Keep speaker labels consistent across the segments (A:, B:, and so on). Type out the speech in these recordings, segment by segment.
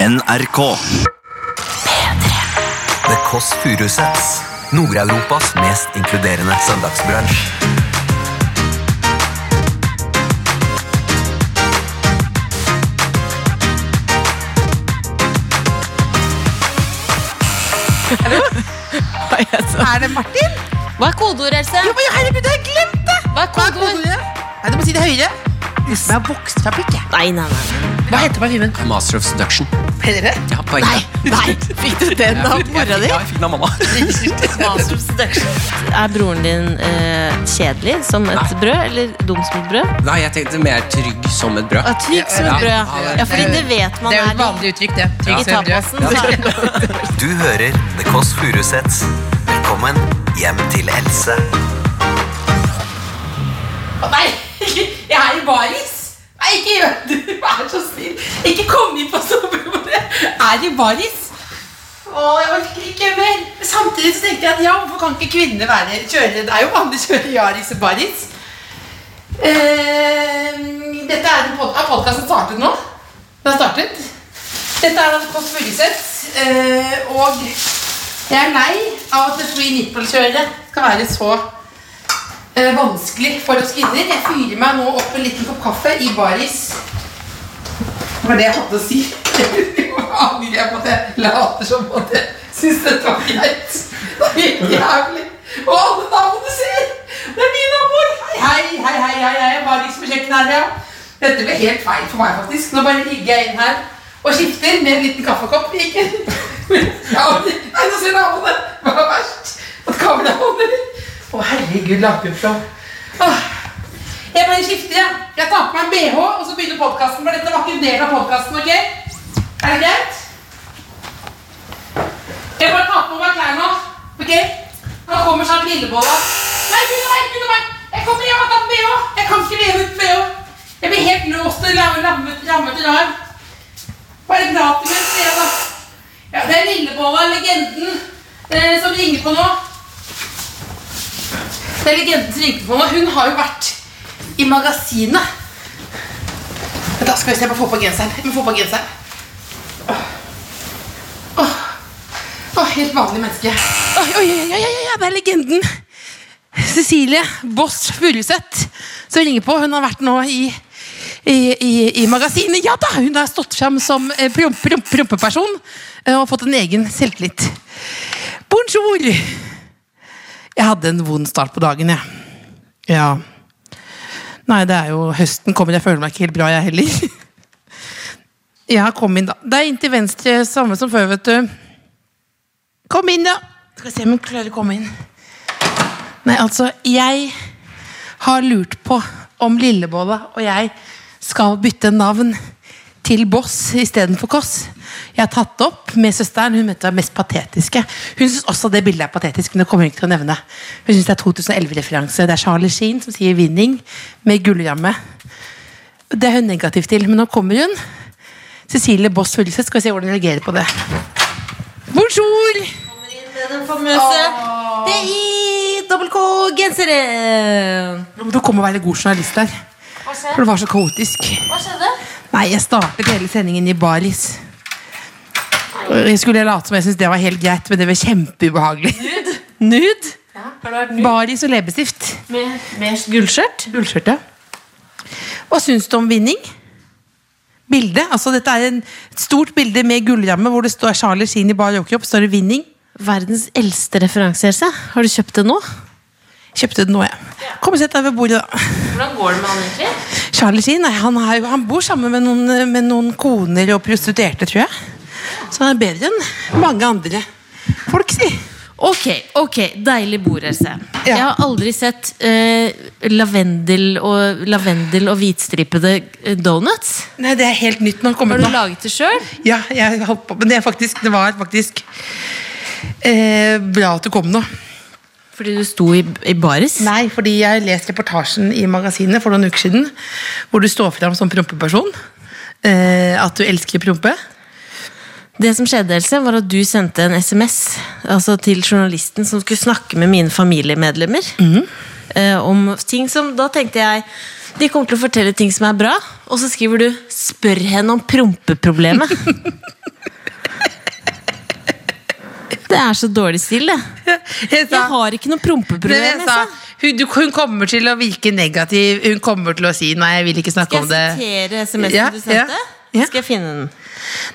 A: NRK.
B: The Kåss Furuseths. Nord-Europas mest inkluderende søndagsbransj.
C: Er det Martin?
D: Hva er kodeordet, Else?
C: Jo, men herregud, jeg har glemt det!
D: Hva er
C: Hva er
D: kodeord?
C: kodeordet? Nei, du må si det høyere. Husk meg har vokst fra pikk, jeg.
D: Nei, nei, nei.
C: Hva heter parfymen?
E: Master of Seduction.
C: Heller det?
E: Ja, poeng.
D: Nei, nei. Fikk du den av mora di?
E: Ja, jeg fikk den av mamma.
D: Er broren din eh, kjedelig som et brød, eller dum som et brød?
E: Nei, jeg tenkte mer trygg som et brød.
D: Ja, Trygg som et brød. Ja, fordi det vet man
C: Det er jo
D: er
C: et vanlig uttrykk, det.
D: i tapasen. da.
B: Du hører The Kåss Furuseths. Velkommen hjem til Else.
C: Nei, jeg er i baris. Nei, ikke gjør det. Vær så snill. Ikke kom inn på soverommet. Jeg er i baris. Å, jeg orker ikke mer. Samtidig så tenkte jeg at ja, hvorfor kan ikke kvinner være kjøre? Det er jo vanlig å kjøre Yaris og baris. Eh, dette er en pod er podcasten startet nå. Den har startet. Dette er altså Kåss Furuseth, eh, og jeg er lei av at det free nipple-kjøret skal være så eh, vanskelig for oss kvinner. Jeg fyrer meg nå opp en liten kopp kaffe i baris. Det var det jeg hadde å si. Jeg angrer jeg på at jeg later som at jeg syns dette var greit. Det er helt jævlig. Og alle navnene du ser! Det er mine naboer! Hei, hei, hei, hei, hei, hei. jeg er baris på kjøkkenet her, ja. Dette ble helt feil for meg, faktisk. Nå bare ligger jeg inn her og skifter med en liten kaffekopp. Ikke? Ja, nei, nå ser naboene! Hva er verst? At kameraet holder. Å, herregud, lampeoppslag. Åh. Jeg bare skifter, jeg. Jeg tar på meg en BH, og så begynner podkasten. For dette var ikke en del av podkasten, OK? Er det greit? Jeg bare tar på meg klærne nå. OK? Nå kommer snart lillebolla. Nei, gud nei, gud nei! Jeg kommer hjem og tar på BH! Jeg kan ikke leve uten BH! Jeg blir helt låst og lam- lammet rammet i dag. Bare prat med henne, da. Ja, det er lillebolla, legenden, eh, som ringer på nå. Det er legenden som ringte på meg. Hun har jo vært i magasinet. Da skal vi se, jeg må få på genseren. Jeg må få på genseren. Åh. Åh. Åh, helt vanlig menneske. Oi, oi, oi, oi, oi, oi, det er legenden. Cecilie Boss Furuseth som ringer på. Hun har vært nå i i, i, i magasinet. Ja da! Hun har stått fram som eh, promp- promp- prompeperson eh, og fått en egen selvtillit. Bonjour! Jeg hadde en vond start på dagen, jeg. Ja. Nei, det er jo høsten kommer. Jeg føler meg ikke helt bra, jeg heller. Ja, kom inn, da. Det er inntil venstre, samme som før, vet du. Kom inn, da. Skal vi se om hun klarer å komme inn. Nei, altså, jeg har lurt på om Lillebolla og jeg skal bytte navn til Boss istedenfor Kåss. Jeg har tatt det opp med søsteren. Hun mente det var mest patetiske. Hun syns også det bildet er patetisk. men det kommer hun ikke til å nevne. Hun syns det er 2011-referanse. Det er Charlie Sheen som sier 'vinning' med gullramme. Det er hun negativ til, men nå kommer hun. Cecilie Boss Fugleseth. Skal vi se hvordan hun reagerer på det. Bonjour!
D: Den famøse DI-dobbel-K-genseren.
C: Nå må du komme og være litt god journalist der.
D: Hva
C: For
D: skjedde?
C: det var så kaotisk.
D: Hva skjedde?
C: Nei, jeg startet hele sendingen i baris. Jeg skulle late som jeg syntes det var helt greit, men det var kjempeubehagelig. Nude?
D: Ja, har du vært ny?
C: Baris og leppestift.
D: Med, med gullskjørt?
C: Ullskjørte. Hva syns du om vinning? Bildet, altså Dette er en, et stort bilde med gullramme hvor det står Charlie Sheen i bar overkropp. Står det 'Vinning'?
D: Verdens eldste referanse, Else. Har du kjøpt det nå?
C: Kjøpte den nå, jeg. Kom og sett deg ved bordet, da.
D: Hvordan går det med han egentlig?
C: Charlie Sheen nei, han, er, jo- han bor sammen med noen, med noen koner og prostituerte, tror jeg. Så han er bedre enn mange andre folk, si.
D: Ok, ok, deilig bord, Else.
C: Ja.
D: Jeg har aldri sett eh, lavendel, og, lavendel og hvitstripede eh, donuts.
C: Nei, det er helt nytt når han kommer
D: Har du
C: nå.
D: laget det sjøl?
C: Ja, jeg holdt på, men det, er faktisk, det var faktisk eh, bra at du kom nå.
D: Fordi du sto i, i baris?
C: Nei, fordi jeg leste reportasjen i magasinet for noen uker siden, hvor du står fram som prompeperson. Eh, at du elsker prompe.
D: Det som skjedde, Else, var at du sendte en SMS altså til journalisten som skulle snakke med mine familiemedlemmer.
C: Mhm.
D: eh, om ting som, Da tenkte jeg de kommer til å fortelle ting som er bra, og så skriver du 'spør henne om prompeproblemet'. Det er så dårlig stil, det.
C: Jeg altså.
D: Jeg har ikke noe prompeproblem.
C: Men jeg sa, hun, du- hun kommer til å virke negativ. Hun kommer til å si 'nei, jeg vil ikke snakke
D: Skal
C: om det'.
D: jeg sitere SMS-en
C: Ja,
D: du sendte?
C: ja, ja.
D: Skal jeg finne den?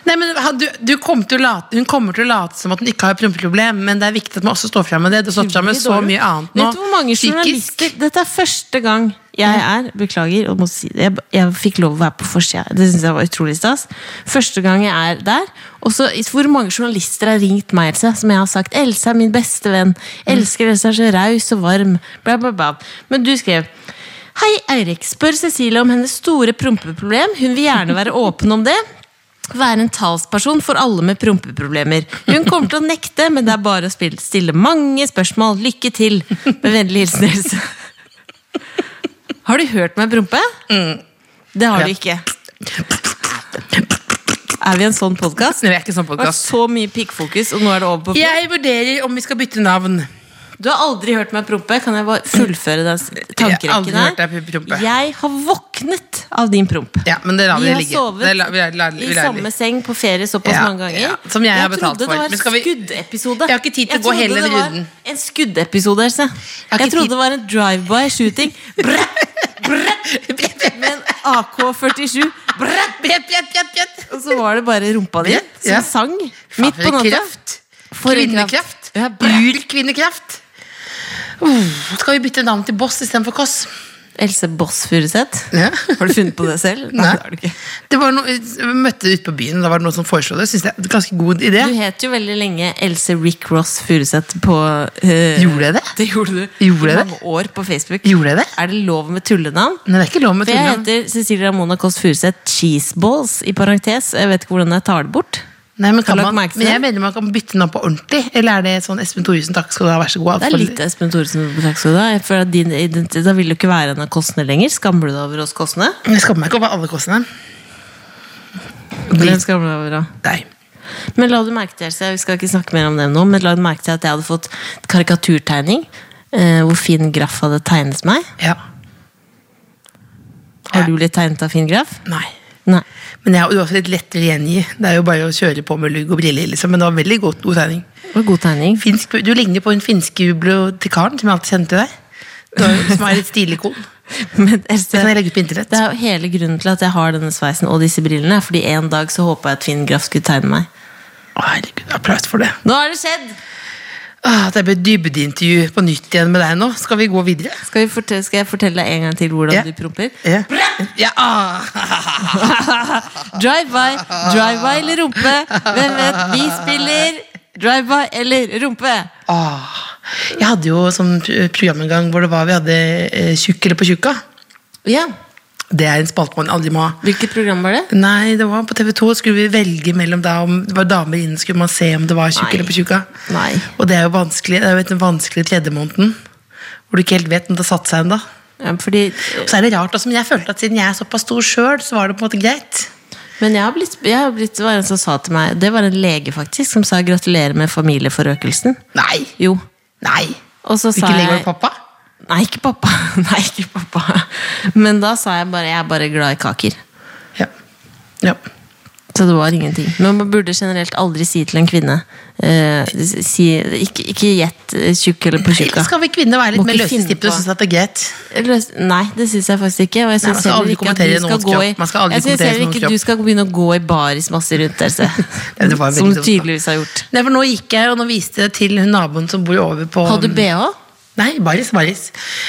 C: Nei, men ha- du, du kommer til å late, Hun kommer til å late som at hun ikke har et prompeproblem, men det er viktig at man også står frem med det. Du har stått frem med så mye annet nå.
D: Vet du hvor mange journalister Dette er første gang jeg er Beklager, jeg, må si, det, jeg, jeg fikk lov å være på forsida. Det synes jeg var utrolig stas. Første gang jeg er der. Og så i- hvor mange journalister har ringt meg, Else, som jeg har sagt 'Else er min beste venn'. 'Elsker Else er så raus og varm'. Bla, bla, bla. Men du skrev Hei, Eirik. Spør Cecilie om hennes store prompeproblem. Hun vil gjerne være åpen om det. Være en talsperson for alle med prompeproblemer. Hun kommer til å nekte, men det er bare å spille- stille mange spørsmål. Lykke til! Med vennlig hilsen Else. Har du hørt meg prompe?
C: Mm.
D: Det har du ikke. Er vi en sånn podkast?
C: Nei, vi er ikke sånn
D: Det var
C: podcast.
D: så mye pikkfokus, og nå er det over på
C: Jeg vurderer om vi skal bytte navn.
D: Du har aldri hørt meg prompe. Kan jeg bare fullføre den s-
C: Jeg har aldri
D: tankerekken
C: hørt deg prompe.
D: Jeg har våknet av din promp.
C: Ja, men det lar vi
D: Vi har
C: ligge.
D: sovet
C: Det lar- vi lar- lar- vi
D: I
C: lar-
D: samme seng på ferie såpass
C: Ja,
D: mange ganger.
C: ja, som jeg har betalt
D: trodde
C: for. Men
D: det var
C: skal
D: en
C: vi-
D: skuddepisode.
C: Jeg har ikke tid til å gå
D: trodde
C: hele
D: det var
C: runden.
D: En skuddepisode, Else.
C: har
D: Jeg,
C: ikke tid-
D: trodde det var en drive-by-shooting. Med en AK-47.
C: Brett, brett, brett, brett, brett.
D: Og så var det bare rumpa di
C: Brett,
D: som
C: ja.
D: sang
C: Faen,
D: midt
C: for
D: på
C: en
D: natta.
C: kraft.
D: For en
C: Kvinnekraft.
D: kraft. Ja, brett.
C: Urkvinnekraft. Uh, skal vi bytte navn til Boss istedenfor Kåss?
D: Else Boss Furuseth.
C: Ja.
D: Har du funnet på det selv?
C: Nei.
D: det har du ikke.
C: Det var noe, vi møtte ute på byen, da var det noen som foreslo det. Synes jeg er en ganske god idé.
D: Du het jo veldig lenge Else Rick Ross Furuseth på eh,
C: Gjorde jeg det?
D: Det gjorde du.
C: Gjorde
D: I
C: jeg det?
D: mange år på Facebook.
C: Gjorde jeg det?
D: Er det lov med tullenavn?
C: Nei, det er ikke lov med
D: For jeg
C: tullenavn.
D: heter Cecilie Ramona Kåss Furuseth Cheeseballs i parentes. Jeg vet ikke hvordan jeg tar det bort.
C: Nei, men, kan
D: Har du
C: man,
D: lagt merke til
C: men jeg
D: det?
C: mener man kan bytte navn på ordentlig. Eller er det sånn Espen Thoresen, takk skal du ha, vær så god.
D: Det er
C: for-
D: litt Espen Thoresen. Takk skal du ha. Jeg føler at din identitet Da vil du ikke være en av Kåssene lenger. Skammer du deg over oss Kåssene?
C: Jeg skammer meg ikke over alle kostene.
D: Eller skammer du deg over da?
C: Nei.
D: Men la du merke til, Else, vi skal ikke snakke mer om det nå, men la du merke til at jeg hadde fått karikaturtegning eh, hvor Finn Graff hadde tegnet meg?
C: Ja.
D: Har du blitt tegnet av Finn Graff?
C: Nei.
D: Nei.
C: Men jeg er jo også litt lettere å gjengi. Det er jo bare å kjøre på med lugg og briller, liksom. Men det var veldig godt god tegning.
D: Det var god tegning.
C: Finsk, du ligner på hun finske bibliotekaren som jeg alltid kjente deg. Du har- Som er et stilikon.
D: Men Else,
C: Det kan jeg legge ut på internett.
D: Det er jo hele grunnen til at jeg har denne sveisen og disse brillene. er Fordi en dag så håpa jeg at Finn Graff skulle tegne meg.
C: Å, Herregud, applaus for det.
D: Nå har det skjedd!
C: Ah, det blir dybdeintervju på nytt igjen med deg nå. Skal vi gå videre?
D: Skal, vi fortelle, skal jeg fortelle deg en gang til hvordan
C: Ja.
D: du promper?
C: Ja. Ja, ah.
D: Drive-by, drive-by eller rumpe? Hvem vet? Vi spiller drive-by eller rumpe!
C: Ah. Jeg hadde jo sånn pr- program en gang hvor det var vi hadde eh, Tjukk eller på tjukka.
D: Ja,
C: Det er en spalte man aldri må ha.
D: Hvilket program var det?
C: Nei, det var på TV 2 skulle vi velge mellom da om det var damer inne, skulle man se om det var tjukk
D: Nei.
C: eller på tjukka.
D: Nei.
C: Og det er jo vanskelig, det er jo den vanskelige tredje måneden, hvor du ikke helt vet om det har satt seg ennå.
D: Ja, fordi,
C: Så er det rart, altså, men jeg følte at siden jeg er såpass stor sjøl, så var det på en måte greit.
D: men jeg har blitt, jeg har blitt det var en som sa til meg Det var en lege faktisk som sa 'gratulerer med familieforøkelsen'.
C: Nei!
D: Jo.
C: Nei!
D: Og så sa
C: Ikke lenger
D: jeg
C: med pappa?
D: Nei, ikke pappa. Nei, ikke pappa. Men da sa jeg bare 'jeg er bare glad i kaker'.
C: Ja. ja.
D: Så det var ingenting. Men man burde generelt aldri si til en kvinne eh, si, Ikke ikke gjett eh, tjukk eller på tjukka.
C: Eller skal vi kvinner være litt
D: Må
C: mer
D: ikke finne
C: løsestippet og
D: på.
C: synes at det er greit?
D: Løs- Nei, det syns jeg faktisk ikke. Og jeg
C: man
D: syns
C: skal
D: heller
C: aldri
D: ikke at
C: kommentere
D: du skal
C: noens
D: gå i
C: kropp. Man skal aldri
D: Jeg synes
C: kommentere
D: heller
C: noens
D: ikke du
C: kropp.
D: skal begynne å gå i baris masse rundt der. se.
C: Ja, det var veldig
D: Som du
C: dumt, da.
D: tydeligvis har gjort.
C: Nei, for nå gikk jeg, og nå viste jeg til hun naboen som bor over på
D: Har du BH?
C: Nei, baris, baris.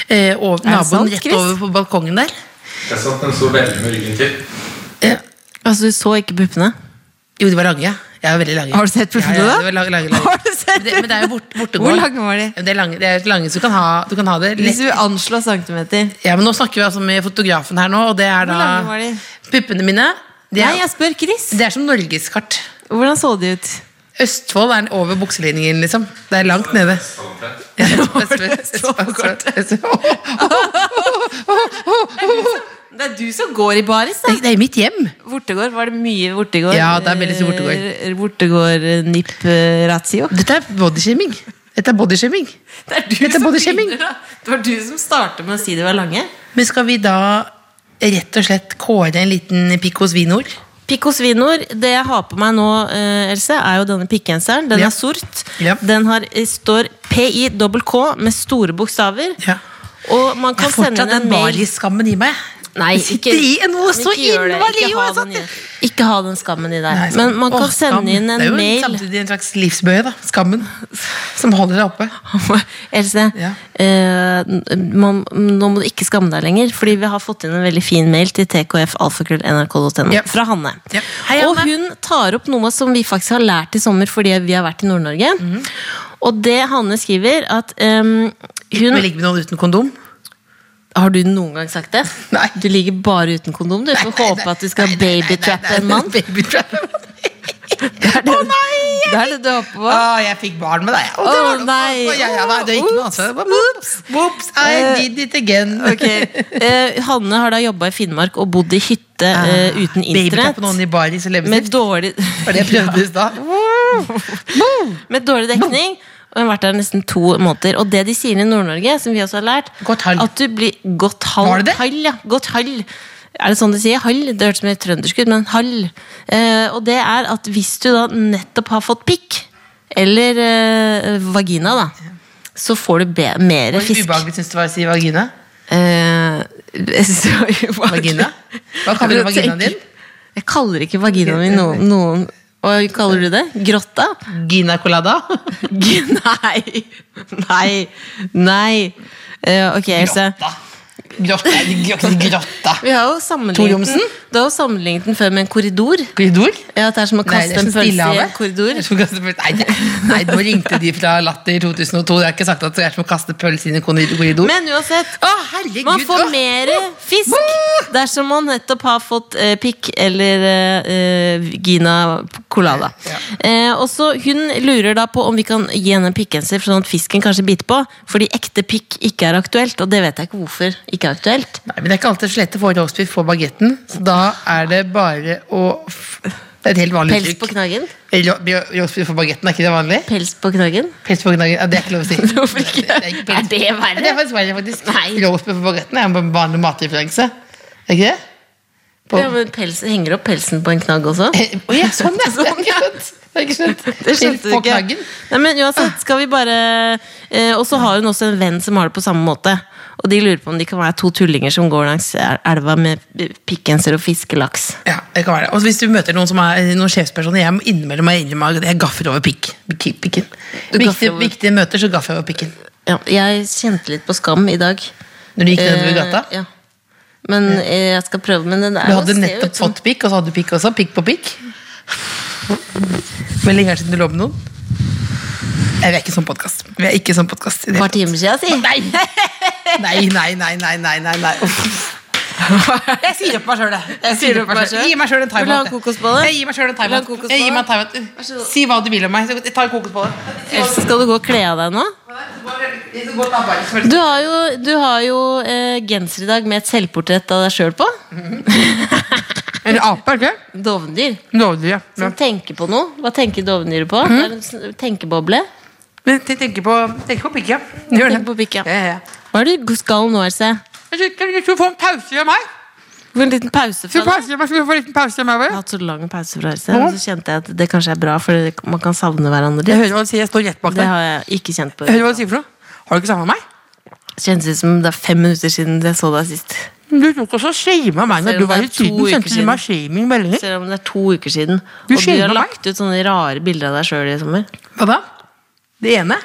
C: Eh, og naboen
D: sant,
C: rett
D: Chris?
C: over på balkongen der.
F: Jeg satt den så veldig med ryggen til.
C: Eh,
D: Altså, du så ikke puppene?
C: Jo, de var lange. Jeg er veldig lange.
D: Har du sett puppene,
C: ja, ja,
D: da?
C: de var lange, lange, lange.
D: Har du sett
C: Men det, men det er jo bort, bortegård.
D: Hvor lange var de?
C: Ja, Det er lange, det er lange så du kan ha, du kan ha det
D: Hvis
C: lett.
D: du anslår centimeter.
C: Ja, men nå snakker vi altså med fotografen her nå, og det er da
D: lange var de?
C: Puppene mine, det
D: Nei,
C: er,
D: jeg spør Chris.
C: det er som norgeskart.
D: Hvordan så de ut?
C: Østfold er over bukselinjen, liksom. Det er langt nede. Ja, Østfold- Østfold- Østfold-
D: Det er du som går i baris, da.
C: Det det er mitt hjem.
D: Vortegård, var det mye Vortegård?
C: Ja, det er veldig mye Vortegård.
D: Eh, Vortegård eh, nipp eh, ratio.
C: Dette er bodyshaming. Dette er bodyshaming.
D: Det er du
C: Dette er
D: som
C: bodyshaming.
D: begynner, da. Det var du som startet med å si de var lange.
C: Men skal vi da rett og slett kåre en liten pikk hos vinord?
D: Pico Svinor, det jeg har på meg nå, eh, Else, er jo denne pikkgenseren. Den
C: Ja.
D: er sort.
C: Ja.
D: Den har, eh, står PIKK med store bokstaver.
C: Ja.
D: Og man
C: Jeg
D: kan
C: har
D: sende
C: fortsatt
D: en
C: den
D: mail
C: Bali-skammen i meg.
D: Nei,
C: Det sitter i noe
D: men
C: så
D: ikke gjør det.
C: innmari,
D: Ikke
C: jo,
D: ha
C: jeg
D: den
C: satt-
D: i- Ikke ha den skammen i deg.
C: Nei, skam.
D: altså. Men man kan
C: Åh, skam.
D: sende inn en
C: Det er jo
D: mail.
C: samtidig en slags livsbøye, da. Skammen. Som holder deg oppe.
D: Else,
C: Ja.
D: eh, n- man, nå må du ikke skamme deg lenger, fordi vi har fått inn en veldig fin mail til tkfalfakrøll.nrk.no
C: Ja.
D: fra Hanne.
C: Ja. Hei,
D: Og
C: Hanne.
D: hun tar opp noe som vi faktisk har lært i sommer fordi vi har vært i Nord-Norge.
C: Mhm.
D: Og det Hanne skriver, at ehm,
C: Må
D: hun
C: ligge med noen uten kondom.
D: Har du noen gang sagt det?
C: Nei.
D: Du ligger bare uten kondom, du. Får håpe at du skal
C: Nei, nei, nei, nei,
D: babytrappe
C: nei,
D: en mann.
C: babytrappe en mann.
D: Å nei! Det er det du håper på.
C: Å, jeg fikk barn med deg. Å, det
D: Å,
C: var noe-
D: nei.
C: Å, ja, ja, nei, det er ikke noe annet. Whoops, whoops, I did it again.
D: Eh, Ok. Eh, Hanne har da jobba i Finnmark og bodd i hytte eh, uten internett.
C: Babytrappe Ah. noen i Bali så
D: Med
C: leppestift.
D: dårlig,
C: Var det jeg prøvde i stad?
D: med dårlig dekning. Og hun har vært der nesten to måneder. Og det de sier i Nord-Norge, som vi også har lært
C: Godt hall.
D: At du blir godt hall.
C: Var det det?
D: Hall, ja. Godt hall. Er det sånn de sier? Hall? Det hørtes mer trøndersk ut, men hall. Eh, og det er at hvis du da nettopp har fått pikk, eller eh, vagina, da, så får du be mer
C: Hvor
D: fisk.
C: ubehagelig syns du det var å si vagina?
D: Eh, så ubehagelig.
C: Vagina? Hva kaller du
D: Jeg
C: vaginaen
D: tenker-
C: din?
D: Jeg kaller ikke vaginaen min noen, noen Hva kaller du det? Grotta?
C: Gina colada?
D: G- Nei! Nei! Nei! Eh, ok, Else.
C: Grotta. Grotta. grotta.
D: Vi har jo
C: Tor
D: sammenlignet
C: Johnsen?
D: den, du har jo sammenlignet den før med en korridor.
C: Korridor?
D: Ja, at det er som å
C: Nei,
D: kaste
C: det er som
D: en pølse i
C: Stillehavet.
D: en korridor.
C: Det er som å kaste pølse- Nei, det- nei, nå ringte de fra Latter 2002. Jeg har ikke sagt at det er som å kaste pølse inn i en korridor.
D: Men uansett,
C: Å, herregud!
D: man får
C: Å,
D: mer fisk dersom man nettopp har fått eh, pikk eller eh, gina colada. Eh, og så Hun lurer da på om vi kan gi henne en pikkgenser sånn at fisken kanskje biter på. Fordi ekte pikk ikke er aktuelt, og det vet jeg ikke hvorfor ikke er aktuelt.
C: Nei, men det er ikke alltid så lett å få roastbiff på bagetten, så da er det bare å f- Det er et helt vanlig
D: Pels på knaggen?
C: Ro- ro- Roastbiff på bagetten, er ikke det vanlig?
D: Pels på knaggen?
C: Pels på knaggen, ja, det er ikke lov å si.
D: Hvorfor ikke?
C: Det er, ikke pels.
D: Er det verre?
C: Ja, Det er faktisk verre, faktisk.
D: Nei.
C: Roastbiff på bagetten er en vanlig matreferanse. Er ikke det? På-
D: Ja, men pels, Henger opp pelsen på en knagg også?
C: Eh, Å ja, sånn, ja! Det er ikke skjønt. Det er ikke skjønt.
D: Det skjønte
C: Pels
D: du
C: på
D: ikke.
C: knaggen.
D: Nei, men uansett skal vi bare eh, Og så har hun også en venn som har det på samme måte. Og de lurer på om de kan være to tullinger som går langs el- elva med pikkgenser og fiskelaks.
C: Ja, det kan være det. Og hvis du møter noen som er noen sjefspersoner, jeg må innimellom meg innrømme at jeg gaffer over pikk. Pikk- pikken.
D: Du gaffer
C: Viktige,
D: over-
C: viktige møter, så gaffer jeg over pikken.
D: Ja, jeg kjente litt på skam i dag.
C: Når du gikk nedover
D: Eh,
C: gata.
D: ja. Men eh, jeg skal prøve, men den er
C: Du
D: jo-
C: hadde
D: ser jo ut
C: nettopp
D: som-
C: fått pikk, og så hadde du pikk også. Pikk på pikk. Men lenge siden du lå med noen? Nei, vi er ikke sånn podkast. Vi er ikke sånn podkast.
D: et par timer siden, si.
C: Nei. nei, nei, nei, nei, nei, nei, nei. Uff. Jeg sier opp meg sjøl, jeg. jeg.
D: Sier
C: sier
D: du
C: opp
D: opp
C: meg
D: deg
C: selv.
D: selv?
C: Gi meg sjøl en
D: Vil du ha
C: timeout.
D: en kokosbolle?
C: Jeg gir meg selv en
D: Vil du ha en
C: timeout. Jeg gir meg en
D: Vær så
C: timeout.
D: god.
C: Si hva du vil om meg. så Ta en kokosbolle.
D: Else, skal du gå og kle av deg nå? Du har jo, du har jo eh, genser i dag med et selvportrett av deg sjøl på.
C: En ape, er det ikke?
D: Dovendyr.
C: Lovdyr, ja.
D: Som tenker på noe. Hva tenker dovendyret på? Det er en sn- tenkeboble.
C: Men jeg tenker på, tenker på pikk, ja.
D: Tenker på pikk, ja. Hva er det du skal nå, Else?
C: Jeg synes du får en pause av meg.
D: Du får en liten pause
C: Du
D: fra deg.
C: pauser meg, så du får en liten pause av meg.
D: Jeg har hatt så lang pause fra Else, og så kjente jeg at det kanskje er bra, for det- man kan savne hverandre
C: Jeg
D: litt.
C: hører hva du sier, jeg står rett bak
D: Det
C: deg.
D: har jeg ikke kjent på.
C: Jeg hører hva du sier for noe. Har du ikke savnet meg?
D: Kjennes ut som det er fem minutter siden jeg så deg sist.
C: Du tok også shama meg
D: Selv
C: når
D: om
C: du var i
D: det er to
C: Syden.
D: uker
C: Sendte du
D: siden.
C: meg shaming-meldinger?
D: Selv om det er to uker siden.
C: Du
D: og du
C: shamer
D: har
C: meg.
D: lagt ut sånne rare bilder av deg sjøl i sommer.
C: Hva da? Det ene?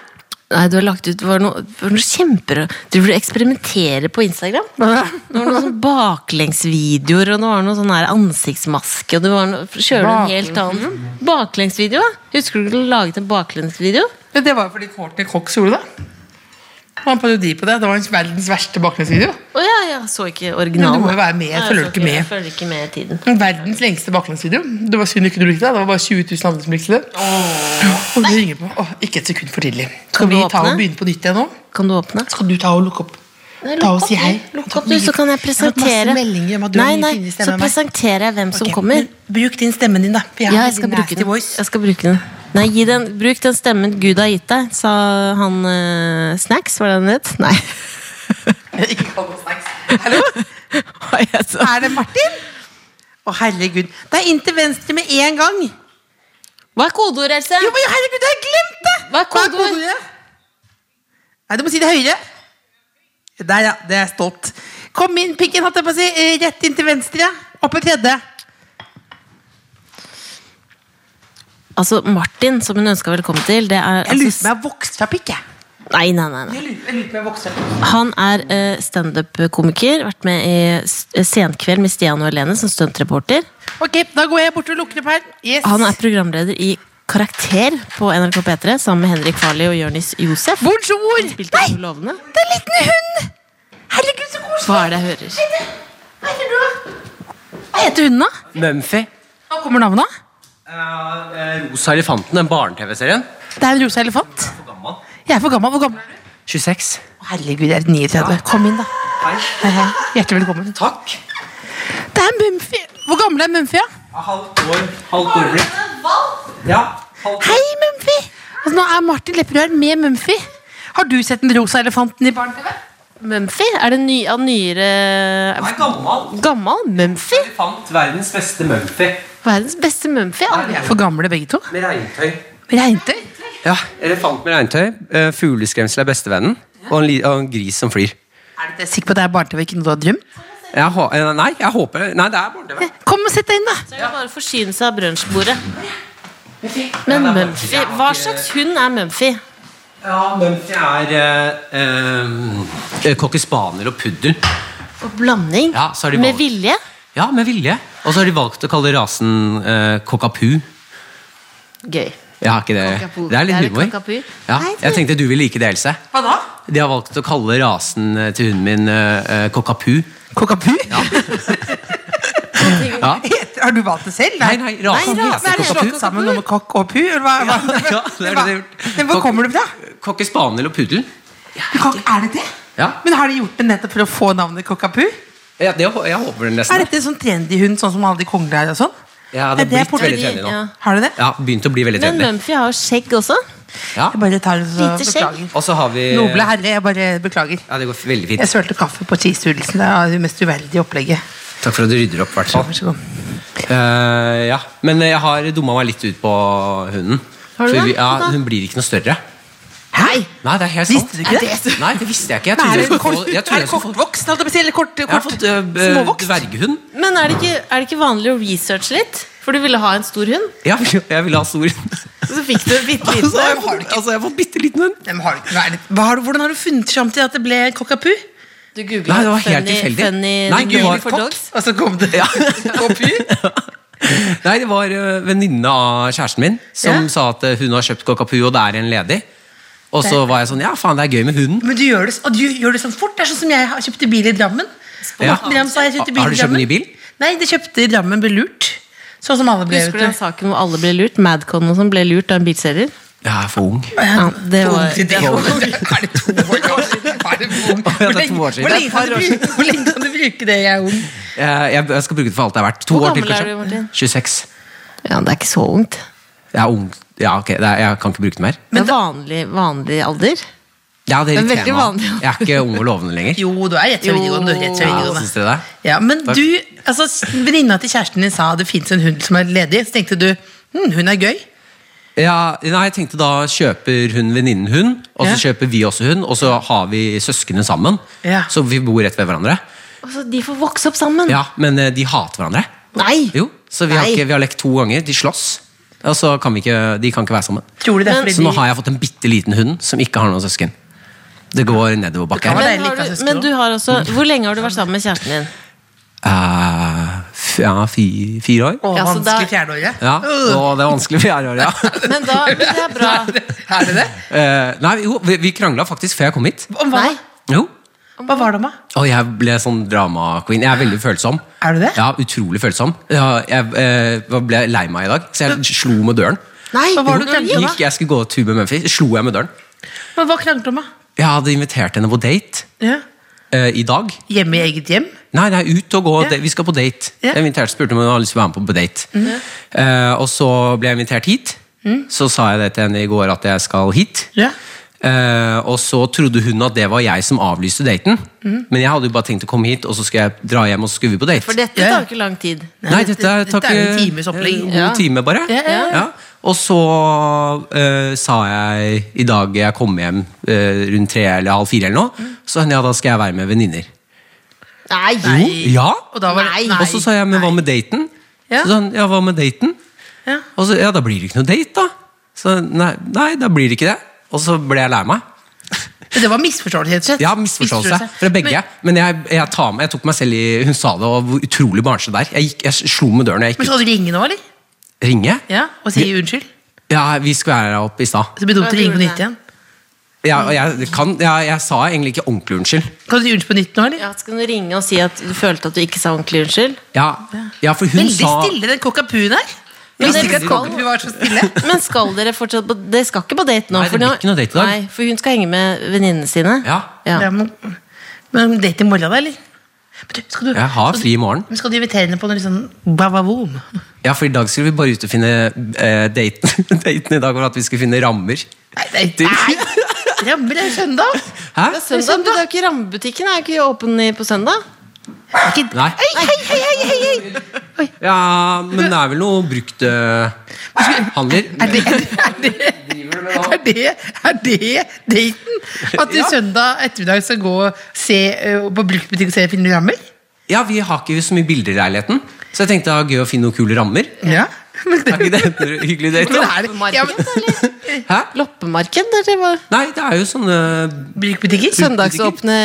D: Nei, du har lagt ut det var noe, det var noe kjemper... Du burde eksperimentere på Instagram.
C: Hva da?
D: Det var noen sånn baklengsvideoer, og det var noe sånn her ansiktsmaske og det var noe, kjører du en helt annen Baklengsvideo? ja. Husker du du laget en baklengsvideo?
C: Men Det var jo fordi Courtney Cox gjorde det. Det var en parodi på det. Det var en verdens verste baklengsvideo.
D: Å ja, jeg så ikke
C: Men du
D: originalen.
C: må jo være med. Jeg
D: Nei,
C: følger
D: så
C: jo ikke
D: Jeg
C: med.
D: følger ikke med i tiden.
C: Verdens lengste baklengsvideo. Det var synd ikke du likte det. Det var bare 20 000 andre som likte det. Og du ringer på. Åh, ikke et sekund for tidlig. Skal
D: Kan du
C: vi ta
D: åpne?
C: og begynne på nytt igjen nå?
D: Kan du åpne?
C: Skal du ta og lukke opp?
D: Nei,
C: ta og
D: lukk
C: si
D: opp,
C: hei.
D: Lukk opp, du, så kan
C: har
D: jeg
C: fått masse
D: presentere.
C: meldinger om at du har
D: Nei,
C: mye
D: nei,
C: finere stemme
D: så
C: enn meg.
D: presenterer jeg hvem som
C: Ok,
D: kommer.
C: men Bruk din stemmen din, da. for
D: Ja,
C: har
D: jeg skal
C: din
D: bruke
C: nasty
D: den.
C: voice.
D: Jeg skal bruke den. Nei, gi den, bruk den stemmen Gud har gitt deg, sa han eh, Snacks, var det han het? Nei.
C: Ikke kall meg snacks. Hallo?
D: Hva het han?
C: Er det Martin? Å Å, herregud. Det er inn til venstre med en gang. Jo,
D: Hva er kodeordet, Else?
C: men herregud, jeg har glemt det!
D: Hva er kodeord?
C: Nei, du må si det høyere. Der, ja. Det er jeg stolt. Kom inn, pikken, holdt jeg på å si. Eh, Rett inn til venstre. Opp i tredje.
D: Altså, Martin, som hun ønska velkommen til, det er
C: Jeg lurer
D: altså,
C: på om jeg har vokst fra pikk, jeg.
D: Nei, nei, nei. nei.
C: Jeg lurer- jeg lurer på om jeg har vokst fra pikk.
D: Han er eh, standup-komiker. Vært med i s- Senkveld med Stian og Helene som stuntreporter.
C: Ok, da går jeg bort og lukker opp her. Yes.
D: Han er programleder i Karakter på NRK P3 sammen med Henrik Farley og Jonis Josef.
C: Bonjour!
D: Spilte
C: Nei,
D: hun lovende?
C: det er en liten hund! Herregud, så koselig.
D: Hva er det jeg hører?
C: Hva heter du, da? Hva heter hunden, da?
E: Mumphy.
C: Hva kommer navnet? av?
E: Rosa elefanten, den barne-TV-serien.
C: Det er en rosa elefant. Jeg er for gammel. Hvor gammel er du?
E: 26.
C: Å, Herregud, jeg er 39. Kom inn, da. Hei, hei. Hjertelig velkommen.
E: Takk.
C: Det er Mumphy. Hvor gammel er Mumphy? Ja?
E: Halvt år. Halvt år blitt. Ja. Halvt.
C: Hei, Mumphy! Altså, nå er Martin Lepperød med Mumphy. Har du sett den rosa elefanten i barne-TV?
D: Mumphy? Er det ny, av nyere
E: Han er gammel.
D: Gammal Mumphy?
E: Elefant, verdens beste Mumphy.
D: Verdens beste Mumphy.
C: Vi er for gamle, begge to.
E: Med regntøy.
C: Regntøy.
E: Ja, elefant med regntøy. eh, Fugleskremsel er bestevennen. Og en, li og en gris som flyr.
C: Er du sikker på at det er barne-TV, ikke noe du har drømt?
E: Jeg hå eh, nei, jeg håper Nei, det er barne-TV.
C: Kom og sett deg inn, da.
D: Det er bare å forsyne seg av brunsjbordet. Men Mumphy, hva slags hund er Mumphy?
E: Ja, Mumphy er eh, eh, cocker spaniel og puddel.
D: Og blanding?
E: Ja, så er de
D: Med
E: valgt.
D: vilje?
E: Ja, med vilje. Og så har de valgt å kalle rasen eh, cockapoo.
D: Gøy.
E: Jeg har ikke det.
D: Cockapoo.
E: Det er
D: Det er
E: litt
D: litt
E: humor.
D: cockapoo.
E: Ja,
D: Nei,
E: jeg tenkte du ville like det, Else.
C: Hva da?
E: De har valgt å kalle rasen eh, til hunden min uh, cockapoo.
C: Kokapu?
E: Ja.
C: Heter- Har du valgt det selv?
E: Nei, nei, rasen
D: Nei, rasen
E: heter
C: Er det
D: er kokk og
E: cockapoo.
C: slått sammen noe med kokk og pu? Eller hva, hva?
E: Ja, det er det de har gjort.
C: Men hvor
E: Kokk-
C: kommer det fra?
E: Cocker spaniel og puddel.
C: Kokk, er det det?
E: Ja.
C: Men har de gjort det nettopp for å få navnet kokkapu?
E: Ja, det, hå- jeg håper den
C: Er
E: nesten.
C: dette en sånn trendy hund, sånn som alle de kongelige er og sånn?
E: Ja, det
C: er
E: har blitt
C: portugis-
E: veldig trendy nå.
D: ja.
C: Har du det?
E: Ja, begynt å bli veldig
D: Men
E: trendy.
D: Mumphy har jo skjegg også.
E: Ja.
C: Jeg bare tar det så
D: Lite skjegg.
C: beklager.
E: Og så har vi
C: Noble herre, jeg bare beklager.
E: Ja, det går veldig
C: Jeg
E: fint.
C: sølte kaffe på cheesedoodlesen. Det er det mest uverdige opplegget.
E: Takk for at du rydder opp, i hvert fall.
C: Vær så god.
E: Eh, ja, men jeg har dumma meg litt ut på hunden.
D: Har du
E: For
D: det?
E: vi- Ja,
D: Hva da?
E: hun blir ikke noe større.
C: Hei!
E: Nei, det er helt sant.
C: Visste du ikke det?
E: Nei, det visste jeg ikke. Jeg
C: Men
E: trodde
C: Er
E: jeg
C: det
E: skulle
C: kort-
E: få jeg
C: er
E: trodde jeg
C: det
E: skulle få-
C: kortvokst? holdt jeg på å si, Eller kort,
E: Jeg har
C: kort
E: fått eh, eh,
C: småvokst?
E: dverghund.
D: Men er det, ikke, er det ikke vanlig å researche litt? For du ville ha en stor hund,
E: Ja, jeg ville ha stor hund.
D: og så fikk du en bitte
E: Altså,
D: liten
E: jeg
D: en.
E: har fått- altså, jeg har fått bitte liten hund.
C: Nei, men har du ikke- hva er det- hva har du- Hvordan har du funnet fram til at det ble kokkapu?
D: Du googlet
E: Nei, det var helt
D: funny,
E: tilfeldig.
D: funny
E: Nei,
D: du
E: det var-
D: googlet for dogs.
C: Og så kom det kokkapu?
E: Nei, det var eh, venninne av kjæresten min som
C: Ja.
E: sa at eh, hun har kjøpt Cockapoo, og det er en ledig. Og så var jeg sånn Ja, faen, det er gøy med hunden.
C: Men du gjør, det, s- og du gjør det sånn fort. Det er sånn som jeg har kjøpte bil i Drammen. Og
E: Ja.
C: Morten Dram sa jeg kjøpte bil
E: Har du
C: i
E: kjøpt
C: Drammen.
E: ny bil?
C: Nei, det kjøpte i Drammen ble lurt. Sånn som alle ble.
D: Husker du
C: vet
D: den saken hvor alle ble lurt? Madcon og sånn ble lurt av en bilselger?
E: Jeg er for ung.
D: Ja, det
C: Hvor
D: var
C: ung tid det var. Er det to år siden? Er det ung?
E: Ja,
C: Hvor
E: det er to
C: lenge-
E: år siden.
C: hvor lenge kan du bruke- hvor lenge kan du bruke det? Jeg er ung.
E: Eh, Jeg jeg skal bruke det for alt det er verdt. To
D: Hvor
E: år til,
D: gammel er
E: kanskje.
D: du, Martin?
E: 26.
D: Ja, det er ikke så ungt.
E: Jeg er ung. Ja, ok, det er, jeg kan ikke bruke det mer.
D: Det er vanlig, vanlig alder.
E: Ja, det
D: Det er
E: irriterer
D: veldig
E: meg.
D: vanlig.
E: Jeg er ikke ung og lovende lenger.
C: Jo, du er rett fra
D: Jo.
C: videregående. du er rett fra
E: Ja,
C: videregående.
E: syns dere det?
C: Ja, men
E: Takk.
C: du, altså s- Venninna til kjæresten din sa det fins en hund som er ledig. Så tenkte du hm, hun er gøy.
E: Ja, nei, jeg tenkte da kjøper hun venninnen hun, og så
C: Ja.
E: kjøper vi også hun, og så har vi søskene sammen.
C: Ja.
E: Så vi bor rett ved hverandre.
D: Altså, de får vokse opp sammen.
E: Ja, Men eh, de hater hverandre.
D: Nei!
E: Jo, Så vi har,
D: Nei.
E: ikke, vi har lekt to ganger. De slåss. Og så kan vi ikke, de kan ikke være sammen.
C: Tror du det er
D: Men-
C: fordi
E: Så nå
C: de
E: har jeg fått en bitte liten hund som ikke har noen søsken. Det går
C: Det
E: nedoverbakke.
C: kan
E: her.
C: være-
D: Men,
C: deilig,
D: har du,
C: kanskje,
D: men du har også Hvor lenge har du vært sammen med kjæresten din?
E: Eh, f- ja, fi- fire år.
C: Å,
D: Ja, så
C: vanskelig
D: da-
C: fjerdeåret?
E: Ja,
C: Øh,
E: Og det er vanskelig fjerde år, ja.
D: Men da, men det er bra.
C: Er det det?
E: Eh, nei, jo, vi, vi krangla faktisk før jeg kom hit.
C: Om hva?
D: Nei.
E: Jo.
C: Hva var det om, da?
E: Og jeg ble sånn drama-queen. Jeg er veldig følsom.
C: Er du det?
E: Ja, Utrolig følsom. Ja, jeg eh, ble lei meg i dag, så jeg slo med døren.
D: Nei,
C: Hva var det du
D: Oi,
C: tenkte
D: hva?
C: på?
E: Gikk, jeg skulle gå tur med Mumphy, slo jeg med døren.
C: Men hva kranglet du om, da?
E: Jeg hadde invitert henne på date
C: Ja.
E: eh, i dag.
C: Hjemme i eget hjem?
E: Nei, nei, ut og gå.
C: Ja.
E: Det- Vi skal på date.
C: Ja. Mhm.
E: Jeg inviterte, spurte om hun hadde lyst til å være med på date. Eh, og så ble jeg invitert hit. Så sa jeg det til henne i går at jeg skal hit.
C: Ja.
E: Eh, og så trodde hun at det var jeg som avlyste daten.
C: Mm.
E: Men jeg hadde jo bare tenkt å komme hit, og så skal jeg dra hjem og så skulle vi på date.
D: For dette
C: Ja.
D: tar ikke lang tid.
E: Nei, dette, er-
C: dette
E: tar
C: er jo en
E: ikke-
C: times opplegg.
E: En
D: Ja.
E: time, bare.
C: Ja, ja, ja.
E: Og så eh, sa jeg i dag jeg kom hjem eh, rundt tre eller halv fire, eller
C: Mm.
E: noe, så ja, da skal jeg være med venninner.
D: Nei!
E: Ja!
C: Og da var det-
D: Nei.
C: nei.
E: Og så sa jeg, men hva med daten?
C: Ja.
E: Så sa han, ja, hva med daten?
C: Ja.
E: Og så, ja, da blir det ikke noe date, da. Så nei, nei, da blir det ikke det. Og så ble jeg lei meg.
C: Men det var misforståelse, rett og slett.
E: Ja, misforståelse fra begge.
C: Men,
E: Men, jeg, jeg, tar meg, jeg tok meg selv i Hun sa det, og hvor utrolig barnslig der. Jeg, gikk, jeg slo med døren.
C: men
E: Jeg gikk ut.
C: skal du ringe nå, eller?
E: Ringe?
C: Ja, Og si unnskyld?
E: Ja, vi skværa opp i stad.
C: Så blir det dumt å
D: Ja,
C: ringe på
D: gjorde
C: nytt
D: det.
C: igjen.
E: Ja, og jeg, kan, ja, jeg sa egentlig ikke ordentlig unnskyld.
C: Kan du si unnskyld på nytt nå, eller?
D: Ja, skal du ringe og si at du følte at du ikke sa ordentlig unnskyld?
E: Ja, ja for hun
C: Veldig
E: sa
C: stille, den kokkapuen her.
D: Men
C: Visste
D: dere
C: ikke at
D: skal-
C: kokkapu var så stille.
D: Men skal dere fortsatt på Dere skal ikke på date nå?
E: Nei, det
D: for
E: blir
D: nå-
E: ikke noe date i dag.
D: Nei, for hun skal henge med venninnene sine.
E: Ja.
C: Ja, men, men date i morgen, da, eller? Men du, skal du,
E: Jeg har
C: skal
E: fri i
C: du-
E: morgen.
C: Men skal du invitere henne på noe litt sånn bavavoom?
E: Ja, for i dag skulle vi bare ut og finne eh, daten. daten i dag var at vi skulle finne rammer.
C: Nei, nei,
E: Du-
C: nei. Rammer det er søndag?
E: Hæ?
D: Det er søndag, men det er jo ikke rammebutikken er jo ikke åpen i- på søndag.
C: Er ikke-
E: Nei.
C: Hei, hei, hei, hei, hei, hei.
E: Ja, men det er vel noe brukt eh, handler.
C: Er det, er det, er det, er det daten? At du søndag ettermiddag skal gå og se ø, på bruktbutikk og se fine rammer?
E: Ja, vi har ikke så mye bilder i leiligheten, så jeg tenkte det var gøy å finne noen kule rammer.
C: Ja. Men det,
E: Er ikke det en hyggelig date?
C: men
E: da?
C: er det, ja, men,
E: Hæ?
D: Loppemarked, eller hva?
E: Nei, det er jo sånne
C: bruktbutikker? Nei,
D: Søndagsåpne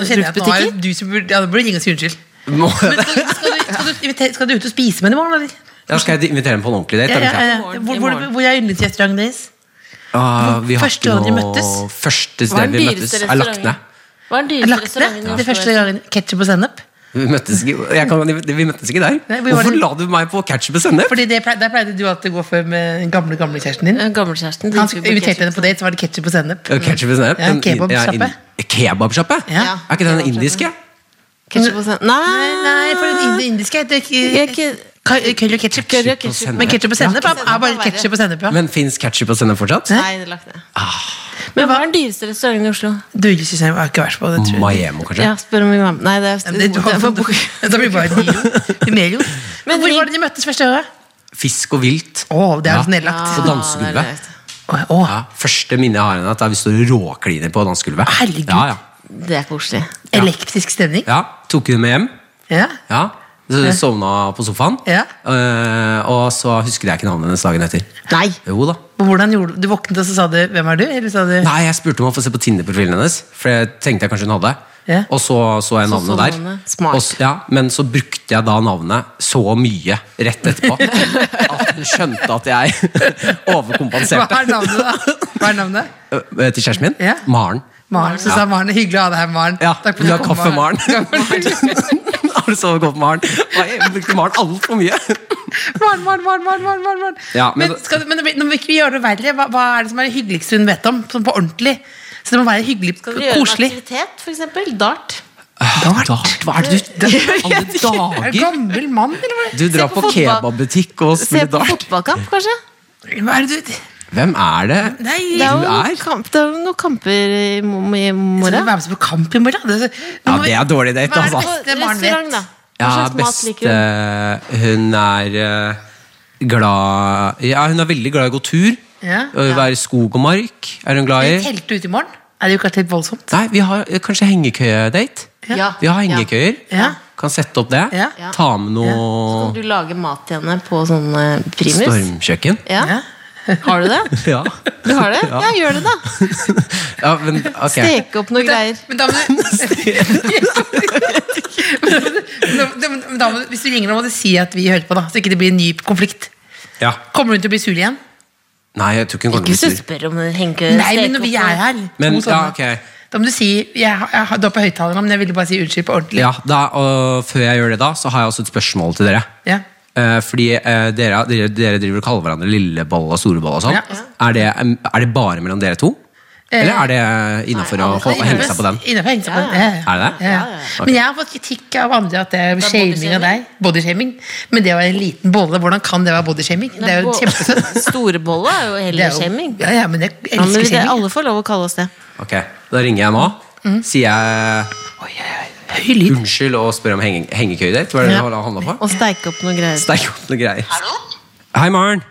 C: nå kjenner jeg at nå er
D: bruktbutikker?
C: det du som burde, ja, nå burde du ringe og si unnskyld.
E: Må jeg
C: Men skal, du- skal, du, skal, du invite- skal du ut og spise med henne i morgen, eller?
E: Ja, skal jeg invitere dem på en ordentlig date?
C: Ja,
E: eller
C: ja,
E: ikke?
C: ja. Hvor, hvor, hvor er yndlingsrestauranten deres?
E: Ah, vi har
C: Første
E: ikke
C: gang de
E: noe-
C: møttes.
E: Første
D: Hva er
E: sted
D: den
E: vi møttes,
D: dyreste
E: er lagt ned.
D: restauranten? Hva er den
C: Jeg
D: dyreste
C: Lagt
D: restauranten? i
C: ned det
D: Oslo?
C: første gangen. Ketchup og sennep.
E: Vi møttes ikke, jeg kan, vi møttes ikke der.
C: Nei, hvor var
E: Hvorfor
C: det?
E: la du meg på ketchup og sennep?
C: Fordi det, plei- Der pleide du alltid å gå for med den gamle gamle kjæresten din.
D: Eh, Gammelkjæresten.
C: Han inviterte henne på date, så var det ketchup og sennep.
E: Ja, Ketchup og sennep?
C: Ja,
E: den-
C: kebabsjappe.
E: ja, in- Kebabsjappe?
C: Ja.
E: Er ikke den indiske?
D: Ketchup Ah.
C: Nei,
D: Nei,
C: nei, for den ind- indiske heter
D: Jeg
C: ikke-
D: ke-
C: Ka- curry og ketchup.
D: Curry og
E: Ketchup og
D: ketchup.
E: sennep.
C: Men ketchup og sennep er er bare
D: Sennep er
C: ketchup og sennep, ja.
E: Men fins ketchup og sennep fortsatt?
D: Nei, det er lagt ned.
E: Ah.
D: Men hva er den dyreste restauranten i Oslo?
C: Du synes jeg har ikke vært på det, tror jeg.
E: Maemo, kanskje?
D: Ja, spør om vi var med. Nei, det er,
C: Men det- du har-
D: det er for bok.
C: Da blir det bare Niro. Det er Niro.
D: Men
C: Men hvor
D: ring-
C: var det de møttes første gang?
E: Fisk og vilt.
C: Å, det er sånn nedlagt.
E: På dansegulvet.
D: Ja, det er det.
C: Å, å,
E: Ja, første minne jeg har henne, er at vi står og råkliner på dansegulvet.
C: Herregud.
E: Ja, ja.
D: Det er koselig.
C: Elektrisk stemning.
E: ja, Tok hun med hjem.
C: Ja.
E: Ja. Så Sovna på sofaen.
C: Ja.
E: Eh, og så husket jeg ikke navnet hennes dagen etter.
D: Nei!
E: Jo da.
C: Og Hvordan gjorde du Du våknet og så sa du 'Hvem er du?' Eller sa du
E: Nei, jeg spurte om å få se på Tinder-profilen hennes. For jeg tenkte jeg kanskje hun hadde.
C: Ja.
E: Og så så jeg
D: Så
E: navnet
D: så
E: der.
D: navnet. Smart.
E: Og s- ja, men så brukte jeg da navnet så mye rett etterpå at hun skjønte at jeg
C: Hva
E: overkompenserte.
C: er navnet, da? Hva er navnet?
E: Eh, Til kjæresten min?
C: Ja.
E: Maren.
C: Maren. Så sa Maren 'Hyggelig å ha deg her, Maren'.
E: Ja,
C: Takk for
E: vil du ha
C: at du kom,
E: kaffe, Maren?
C: Maren,
E: Har du sovet godt, Maren? Nei, Jeg brukte Maren altfor mye.
C: Maren, Maren, Maren, Maren, Maren, Maren, Maren.
E: Ja, men-
C: men, skal, men det blir- nå må ikke vi gjøre det verre. Hva, hva er det som er det hyggeligste hun vet om? Sånn på ordentlig. Så det må være hyggelig,
D: Skal dere gjøre en
C: koselig.
D: aktivitet, for eksempel? Dart?
E: Dart. Hva er det du Alle
C: Er det
E: dager!
C: gammel mann, eller hva?
E: Du drar
D: på
E: på,
D: fotball.
E: kebabbutikk og
D: Se
E: spiller
D: på
E: dart.
D: fotballkamp, kanskje?
C: hva er det du
E: Hvem er det?
C: Nei,
D: Det er jo
E: Du
D: noen,
E: er?
D: kamp, det er jo noen kamper i mo- i
C: skal du
D: morgen.
C: være med på kamp i morgen? Det, nå
E: Ja,
C: må vi-
E: det er dårlig date,
C: Hva er det
E: altså.
C: beste Maren
D: Restaurant,
C: vet?
D: da. Hva
E: Ja,
D: slags mat
E: best
D: liker hun?
E: eh, Hun er eh, glad Ja, hun er veldig glad i å gå tur.
C: Ja.
E: Å Være i skog og mark er hun glad i.
C: Vi telte ute i morgen. Er det jo kanskje litt voldsomt?
E: Nei, vi har eh, kanskje hengekøyedate.
D: Ja.
E: Vi har hengekøyer.
C: Ja.
E: Kan sette opp det.
C: Ja.
E: Ta med
D: Ja.
E: noe
D: Du lager mat til henne på sånn eh, primus?
E: stormkjøkken.
D: Ja. Har du det?
E: Ja.
D: Du har det?
E: Ja.
D: Ja, gjør det, da.
E: ja, men ok.
D: Steke opp noe greier.
C: Men da må du Men da- men- men da må du- Hvis du ringer, nå må du si at vi hører på, da så ikke det blir en ny konflikt.
E: Ja.
C: Kommer hun til å bli sur igjen?
E: Nei, jeg tror ikke hun kommer
D: Ikke
E: til
D: så
E: å bli sur.
D: spør om den henke
C: Nei, men når
D: steke
C: vi
D: opp
C: er
D: noe.
C: her
E: Men,
C: to sånne,
E: ja, ok.
C: Da må du si jeg, har- jeg, har- Du er på høyttaleren, men jeg ville bare si unnskyld på ordentlig.
E: Ja, da, og før jeg gjør det, da, så har jeg også et spørsmål til dere.
C: Ja.
E: Eh, fordi eh, dere, dere, dere driver og kaller hverandre lillebolle og storebolle og sånn.
C: Ja. Eh,
E: Er, det, er det bare mellom dere to? Eller er det innafor å,
D: alle
E: å
D: kan
E: henge seg på den?
C: Innenfor henge seg på den.
D: Ja,
E: Er det det?
C: Ja.
E: Ok.
C: Men jeg har fått kritikk av andre at det er shaming av deg. Bodyshaming. Men det var en liten bolle. Hvordan kan det være bodyshaming? Det er jo kjempesøtt.
D: Storebolle er jo
C: Det
D: heller
C: er jo-
D: skjemming.
C: Ja, ja, men jeg
D: Ja, men
C: elsker
D: det,
C: shaming.
D: alle får lov å kalle oss det.
E: Ok, Da ringer jeg nå.
C: Mm.
E: Sier jeg
C: Høy lyd.
E: unnskyld og spør om henge, hengekøyder? Hva er det du handla på?
D: Å steike opp noen greier.
E: Steik opp noen greier.
G: Hallo?
E: Hei, Maren.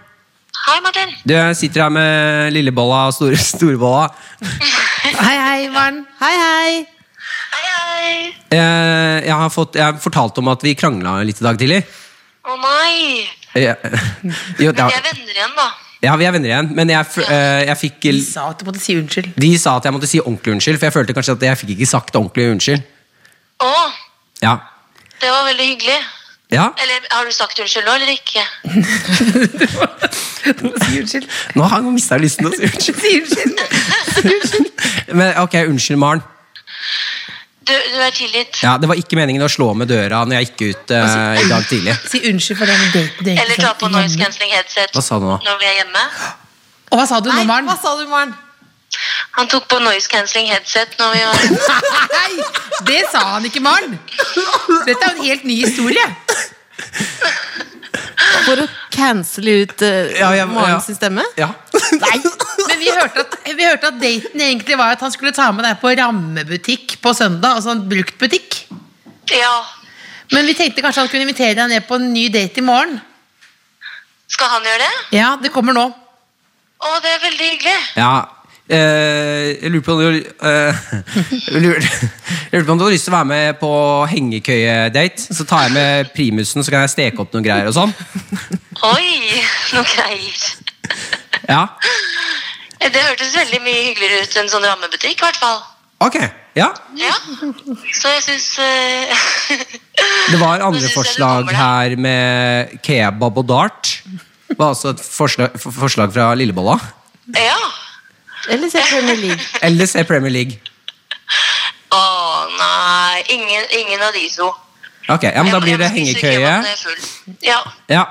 G: Hei, Martin.
E: Du, jeg sitter her med lillebolla og store, storebolla.
C: Hei, hei, Maren.
D: Hei, hei!
G: Hei, hei.
E: Eh, Jeg har, fått, jeg har fortalt om at vi krangla litt i dag tidlig.
G: Å nei.
E: Eh, Jo, det
G: Vi er
E: har-
G: venner igjen, da.
E: ja, vi er venner igjen, men jeg, f- eh, jeg fikk
C: De
E: l-
C: sa at du måtte si unnskyld.
E: De sa at jeg måtte si ordentlig unnskyld, for jeg følte kanskje at jeg fikk ikke sagt ordentlig unnskyld.
G: Å,
E: Ja.
G: det var veldig hyggelig.
E: ja.
G: Eller har du sagt unnskyld nå, eller ikke?
C: Du må si unnskyld.
E: Nå har jeg mista lysten til å si unnskyld.
C: Si unnskyld.
E: Men ok, unnskyld, Maren.
G: Du, du er tilgitt.
E: Ja, det var ikke meningen å slå med døra når jeg gikk ut eh, i dag tidlig.
C: Si unnskyld for den daten du egentlig
G: Eller ta
C: satt
G: på
C: hjemme.
G: noise cancelling headset
E: Hva sa du nå?
G: når vi er hjemme.
C: Og hva sa du nå, Maren?
D: sa du, Maren?
G: Han tok på noise cancelling headset når vi var
C: Nei, det sa han ikke, Maren. Dette er jo en helt ny historie.
D: For å cancele ut uh,
E: Ja, jeg- ja.
D: Maren sin stemme?
E: Ja.
C: Men vi hørte, at, vi hørte at daten egentlig var at han skulle ta med deg på rammebutikk på søndag. Altså en bruktbutikk.
G: Ja.
C: Men vi tenkte kanskje han kunne invitere deg ned på en ny date i morgen.
G: Skal han gjøre det?
C: Ja, det kommer nå.
G: Å, det er veldig hyggelig.
E: ja. Eh, jeg lurer på om du eh, jeg lurer, jeg lurer på om du har lyst til å være med på hengekøyedate. Så tar jeg med primusen, så kan jeg steke opp noen greier og sånn.
G: Oi, noe greier.
E: Ja,
G: Det hørtes veldig mye hyggeligere ut enn sånn rammebutikk, i hvert fall.
E: ok. Ja.
G: Ja. Så jeg syns eh,
E: Det var
G: Nå
E: andre
G: synes jeg det
E: forslag
G: kommer, da.
E: her med kebab og dart. Det var altså et forslag, for- forslag fra Lillebolla.
G: Ja.
D: Eller se Premier League?
E: Eller se E Premier League.
G: Å nei, ingen, ingen av de to.
E: Ok, ja, men Da
G: Jeg-
E: blir
G: jeg
E: det
G: må spise kebaben når
E: hengekøye.
G: jeg er full. Ja,
E: Ja,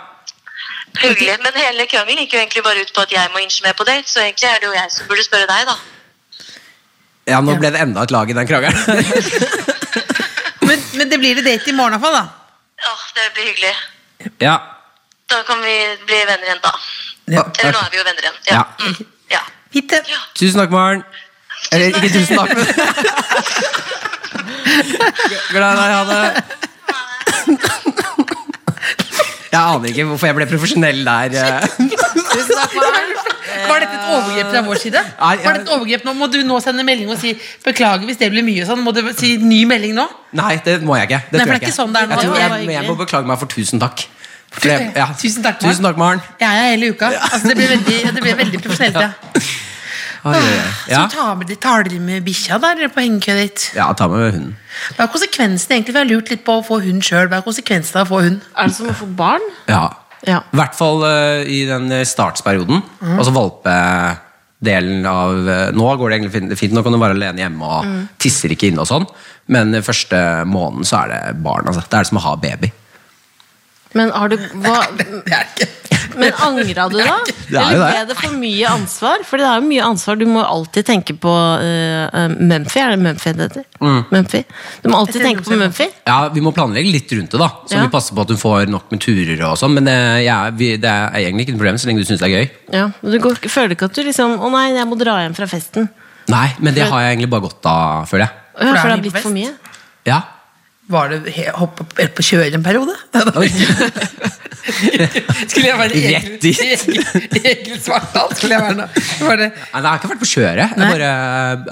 G: hyggelig. Men hele krangelen gikk jo egentlig bare ut på at jeg må innse meg på date, så egentlig er det jo jeg som burde spørre deg, da.
E: ja, nå ble det enda et lag i den krangelen.
C: Men, men det blir det date i morgen i hvert fall, da.
G: Ja, det blir hyggelig.
E: Ja.
G: Da kan vi bli venner igjen, da.
E: Ja,
G: Eller nå
E: takk.
G: er vi jo venner igjen.
E: Ja.
G: Ja. Mm, ja.
C: Hitte.
E: Tusen takk, Maren. Eller ikke tusen takk, men Glad i deg, ha det. Jeg aner ikke hvorfor jeg ble profesjonell der. eh.
C: Var dette et overgrep fra vår side?
E: Nei, jeg-
C: Var det et overgrep nå? Må du nå sende melding og si 'beklager hvis det blir mye' og sånn? Må du si ny melding nå?
E: Nei, det må jeg ikke. Det
C: Nei, for
E: tror jeg
C: det er ikke sånn det er nå.
E: Jeg, tror
C: Det
E: jeg,
C: var
E: men jeg må
D: hyggelig.
E: beklage meg for tusen takk. For det- ja.
C: Tusen takk, Maren.
E: Tusen takk, Maren.
C: Jeg er her hele uka. Altså, det blir veldig, det blir veldig profesjonelt, ja.
E: Oi, oi, oi.
C: Ah, Så
E: Ja.
C: tar, med, tar dere med bikkja da, eller på hengekøyet ditt?
E: ja, ta med hunden.
C: Hva er konsekvensen egentlig? For jeg har lurt litt på å få hund sjøl. Hva er konsekvensen av å få hund?
D: Er det som å få barn?
E: Ja.
D: Ja.
E: I hvert fall eh, i den eh, startsperioden.
C: Mm.
E: Altså valpedelen av eh, Nå går det egentlig fint, fint. Nå kan du være alene hjemme og
C: Mm.
E: tisser ikke inne og sånn. Men den første måneden så er det barn. Altså. Det er det som å ha baby.
D: Men har du hva,
C: Det er det ikke.
D: Men angra du da?
E: jo
D: Eller ble
E: det.
D: det for mye ansvar? For det er jo mye ansvar. Du må alltid tenke på uh, Mumphy, er det Mumphy det heter?
E: Mm.
D: Mumphy. Du må alltid tenke på Mumphy.
E: Ja, Vi må planlegge litt rundt det, da så
D: Ja.
E: vi passer på at hun får nok med turer. og sånn Men eh, jeg er- vi, det er egentlig ikke noe problem så lenge du syns det er gøy.
D: Ja, men du går, ikke- føler ikke at du liksom Å nei, jeg må dra hjem fra festen.
E: Nei, Men det har jeg egentlig bare godt av, føler jeg.
C: For
D: Å Ja,
C: det er
D: for det har
C: mye på
D: blitt for
C: fest.
D: mye.
E: Ja.
C: Var det he- hoppe opp- eller på kjøre en periode? skulle jeg være
E: Rett
C: Egil-
E: dit.
C: Egil- Egil Svartdal? Skulle jeg være nå? Var det,
E: Nei, Jeg har ikke vært på kjøret. Jeg
C: Nei.
E: bare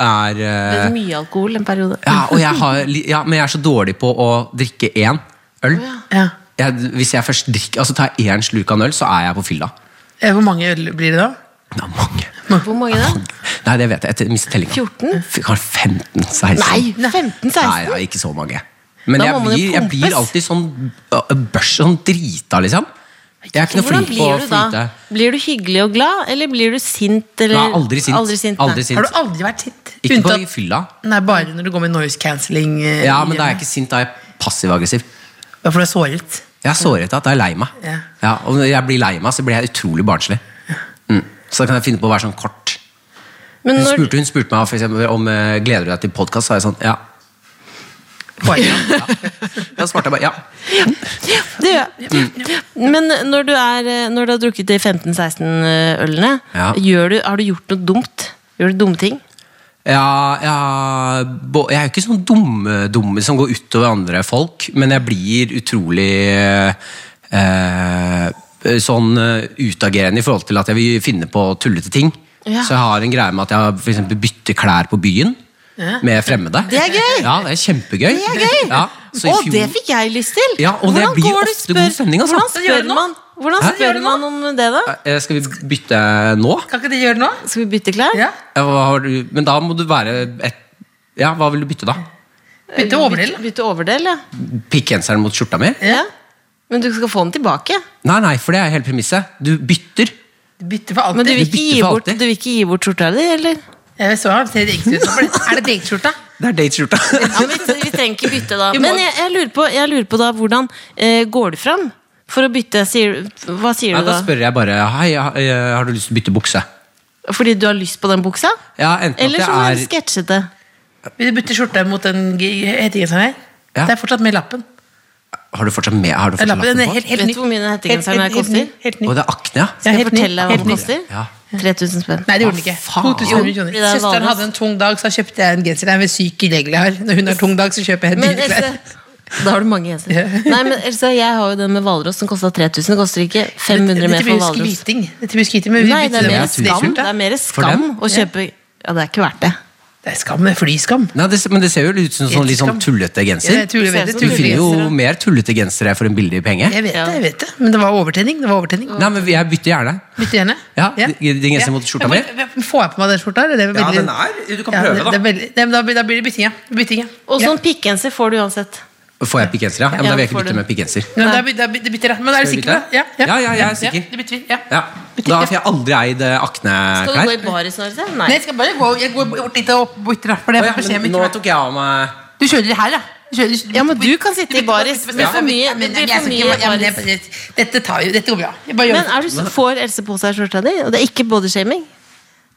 E: er eh,
D: Litt mye alkohol en periode.
E: Ja, og jeg har, li- ja, men jeg er så dårlig på å drikke én øl.
C: ja.
E: Jeg, hvis jeg først drikker, altså tar én sluk av en øl, så er jeg på fylla.
C: Eh, Hvor mange øl blir det da?
E: Det er mange.
D: Hvor mange da?
E: Nei, det vet jeg. Jeg mistet tellinga.
D: 14?
E: Fy, Kanskje 15-16.
D: Nei,
E: Nei,
D: 15-16?
E: ja, ikke så mange. Men
D: Da
E: jeg
D: må man jo
E: blir, jeg
D: pumpes.
E: blir alltid sånn ø, ø, børs, sånn drita, liksom. Jeg er ikke noe
D: Hvordan
E: flink på å
D: blir du
E: flyte.
D: da? Blir du hyggelig og glad, eller blir du sint? Eller?
E: Nei, aldri sint.
D: Aldri sint, nei.
E: Aldri
C: Har
E: sint.
C: du aldri vært sint?
E: Ikke på
C: Unntatt-
E: fylla.
C: Nei, bare når du går med noise cancelling. eh,
E: Ja, men da er jeg ikke sint, da er jeg passiv-aggressiv.
C: Ja, for du er såret.
E: Jeg er såret at jeg er lei meg.
C: Ja.
E: Ja, og når jeg blir lei meg, så blir jeg utrolig barnslig. Mm. Så da kan jeg finne på å være sånn kort.
D: Men
E: Hun
D: når,
E: spurte, hun spurte meg for eksempel, om eh, gleder du deg til podkast, sa jeg sånn ja.
C: Poenget.
E: Da svarte jeg bare ja.
D: det gjør jeg. Men når du, er, eh, når du har drukket de 15-16 ølene,
E: Ja.
D: gjør du, har du gjort noe dumt? Gjør du dumme ting?
E: Ja, ja bo- Jeg er jo ikke sånn dumme, dumme som går utover andre folk, men jeg blir utrolig eh, sånn eh, utagerende i forhold til at jeg vil finne på tullete ting.
D: Ja.
E: Så jeg har en greie med at jeg for eksempel bytter klær på byen med fremmede.
D: Det er gøy!
E: Ja, det er kjempegøy.
D: Det er gøy!
E: Ja, så i
D: Å,
E: fjor-
D: det fikk jeg lyst til!
E: Ja, og det blir
D: går du
E: ofte god stemning, altså.
D: Hvordan
C: Gjør
D: spør
C: det nå.
D: man, hvordan
E: Hæ?
D: spør man om det, da?
E: Eh, Skal vi bytte nå?
C: Kan ikke de gjøre det nå?
D: Skal vi bytte klær?
C: Ja.
E: Ja, hva har du- Men da må du være et Ja, hva vil du bytte, da?
C: Begynte å overdele.
D: Bytte overdel, ja.
E: Pikkgenseren mot skjorta mi?
D: ja. Men du skal få den tilbake.
E: Nei, nei, for det er hele premisset. Du bytter.
C: Bytte for
D: Men du
C: alltid.
D: vil ikke
E: bytter
D: gi
E: for
D: bort,
E: alltid.
D: du vil ikke gi bort skjorta di, eller?
C: Jeg så han ser riktig ut. Er det dengskjorta?
E: Det er dateskjorta.
D: Ja, men vi, vi trenger ikke bytte da.
C: Vi må-
D: Men jeg, jeg, lurer på, jeg lurer på da hvordan eh, går du fram for å bytte? Sier, hva sier
E: Nei,
D: du da?
E: da spør jeg bare Hei, jeg- jeg- har du lyst til å bytte bukse?
D: Fordi du har lyst på den buksa?
E: Ja, enten
D: Eller som
E: at
D: er
E: jeg er
D: sketsjete?
C: Vil du bytte skjorta mot den g- hettegenseren her?
E: Ja.
C: Det er fortsatt med lappen.
E: Har du fortsatt med Har du fortsatt
C: lappen,
E: lappen
C: den er
E: på?
C: helt, helt
D: Vet
C: ny.
D: du hvor mye den hettegenseren
C: Helt- helt-
D: her
C: helt ny, Helt ny.
E: Å, det er akne, ja.
C: Ja,
D: Skal jeg
C: helt ny,
D: fortelle deg hva
C: helt
D: den
C: ny.
D: koster?
E: Ja.
D: 3000 spenn.
C: Nei, det gjorde den ikke.
E: faen?
C: 2500 kroner.
D: Jo, fordi det er
C: Søsteren
D: vanlig.
C: hadde en tung dag, så kjøpte jeg en genser. Det er en syk regel jeg har. Når hun har tung dag, så kjøper jeg
D: Men
C: dyre
D: Else,
C: klær.
D: da har du mange gensere. Nei, men Else, jeg har jo den med Hvalross som kosta 3000. Det koster ikke 500 mer
C: Dette
D: for
C: blir
D: Hvalross.
C: skryting. Dette blir skryting, men vi
D: Nei,
C: bytter
D: det er
C: det
D: mer
C: med
D: skam,
C: dengskjorta.
D: det er mer
E: For
D: skam
E: dem?
D: å kjøpe Ja, det er ikke verdt det.
C: Det er skam, det er flyskam.
E: Nei, det, ser- men det ser jo litt ut som sånn, litt sånn tullete
C: Ja,
E: genser.
C: jeg tuller
D: Ser
C: veldig.
D: ut
E: Du
D: som
C: tuller
E: finner jo
D: gensere.
E: mer tullete gensere for en billig
C: veldig.
E: penge.
C: Jeg vet
D: Ja.
C: det, jeg vet det. Men det var overtenning. Det var overtenning.
E: Nei, men jeg bytter gjerne.
C: Bytte gjerne.
E: Ja, din genser mot skjorta mi?
C: Ja, men Får jeg på meg den skjorta? Eller? Det er
F: Ja,
C: veldig-
F: den er Du kan
C: Ja,
F: prøve,
C: det-
F: da.
C: det er veldig- Nei, men da, blir- da blir det bytting, ja. Bytting, ja.
D: Og
C: ja.
D: sånn pikkgenser får du uansett.
E: Får jeg pikkgenser, ja? ja? Men
D: Ja,
E: da vil jeg ikke
D: får
E: bytte
D: du.
E: med pikkgenser.
C: Men da, by- da, by- det bytter, ja. Men er du
E: Skal vi
C: sikker? på
E: bytte?
C: det? Ja,
E: Ja, ja, jeg er sikker.
C: Ja, det bytter vi. Ja.
E: Ja. Da får jeg aldri eid eh,
D: Skal du gå i
E: akneklær.
D: baris nå, Else?
C: Nei,
D: Nei.
C: jeg skal bare gå Jeg går bort dit og bytter, da, for det
E: Å,
C: er
E: ja,
C: beskjed om
E: men
C: ikke
E: Nå
C: meg.
E: tok jeg av meg
C: Du kjører her, ja. Du kjører,
D: Ja, men du kan sitte i baris. Det blir for mye-
C: Men,
D: det blir
C: jeg
D: for
C: skal ikke-
D: mye
C: ja, men jeg- Dette tar jo Dette går bra. Jeg bare gjør
D: Men er du, så- får Else på seg skjorta di? Og det er ikke bodyshaming?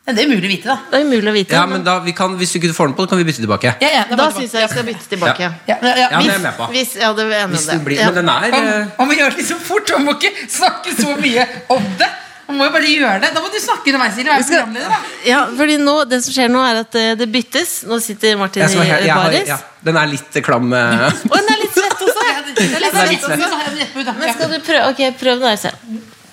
C: det. Det er umulig å vite, da.
D: Det er umulig å vite.
E: Ja, men da, vi kan, Hvis du ikke får den på, kan vi bytte tilbake.
C: Ja, ja, da
D: da
C: bare-
D: syns jeg jeg skal bytte tilbake.
E: Ja.
C: ja, ja, ja.
E: Ja, det er
C: Hvis-
E: jeg med på.
D: Hvis, ja, det er enig
E: Hvis
D: om det.
E: det blir,
D: Ja.
E: men den er
C: Man,
E: eh,
C: man må gjøre det så fort, man må ikke snakke så mye om det. Man må jo bare gjøre det. Da må du snakke underveis. Silje, være programleder, da.
D: Ja, fordi nå, Det som skjer nå, er at eh, det byttes. Nå sitter Martin
E: jeg skal
D: i
E: være helt- jeg har-
D: baris.
E: ja, Den er litt eh, klam. eh.
D: Og den er litt svett også!
C: Ja, det- det er litt
E: Det er
C: sånn-
E: litt
C: sånn- sånn- sånn- rett på ut, da.
D: Men
C: Ja.
D: skal du prøve Ok, prøv den der, se.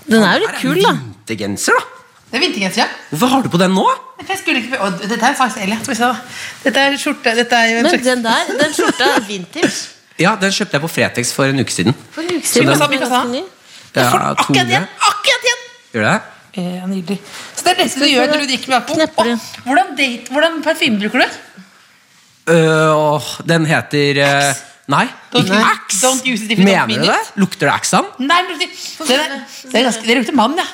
D: Den er jo litt kul, da.
E: Vintergenser, da!
C: Det er vintergenser, ja.
E: Hvorfor har du på den nå?
C: Men Jeg skulle ikke... Å, dette er faktisk Elia. Skal vi se, da. Dette er skjorte Dette er jo en
D: Men
C: slags-
D: den der, den skjorta er vintage.
E: Ja, Den kjøpte jeg på Fretex for en uke siden.
D: For en uke siden.
C: Hva
D: den
C: sa-
D: var
C: hva sa han?
D: ganske ny.
E: Ja,
C: Akkurat igjen!
E: 200.
C: Akkurat igjen!
E: Gjør det?
C: Eh, Ja, nydelig. Så det er det du gjør når du drikker med
D: Knepper
C: alkohol.
D: du.
C: Å, Hvordan, date- hvordan parfyme bruker du?
E: Øh, åh, den heter eh, Nei,
C: Don't
E: ikke
C: use-
E: Axe.
C: don't use it if you don't
E: Mener
C: mean
E: du det? Lukter det Axe an?
C: Nei, men det, det, er, det, er ganske, det lukter mann, ja.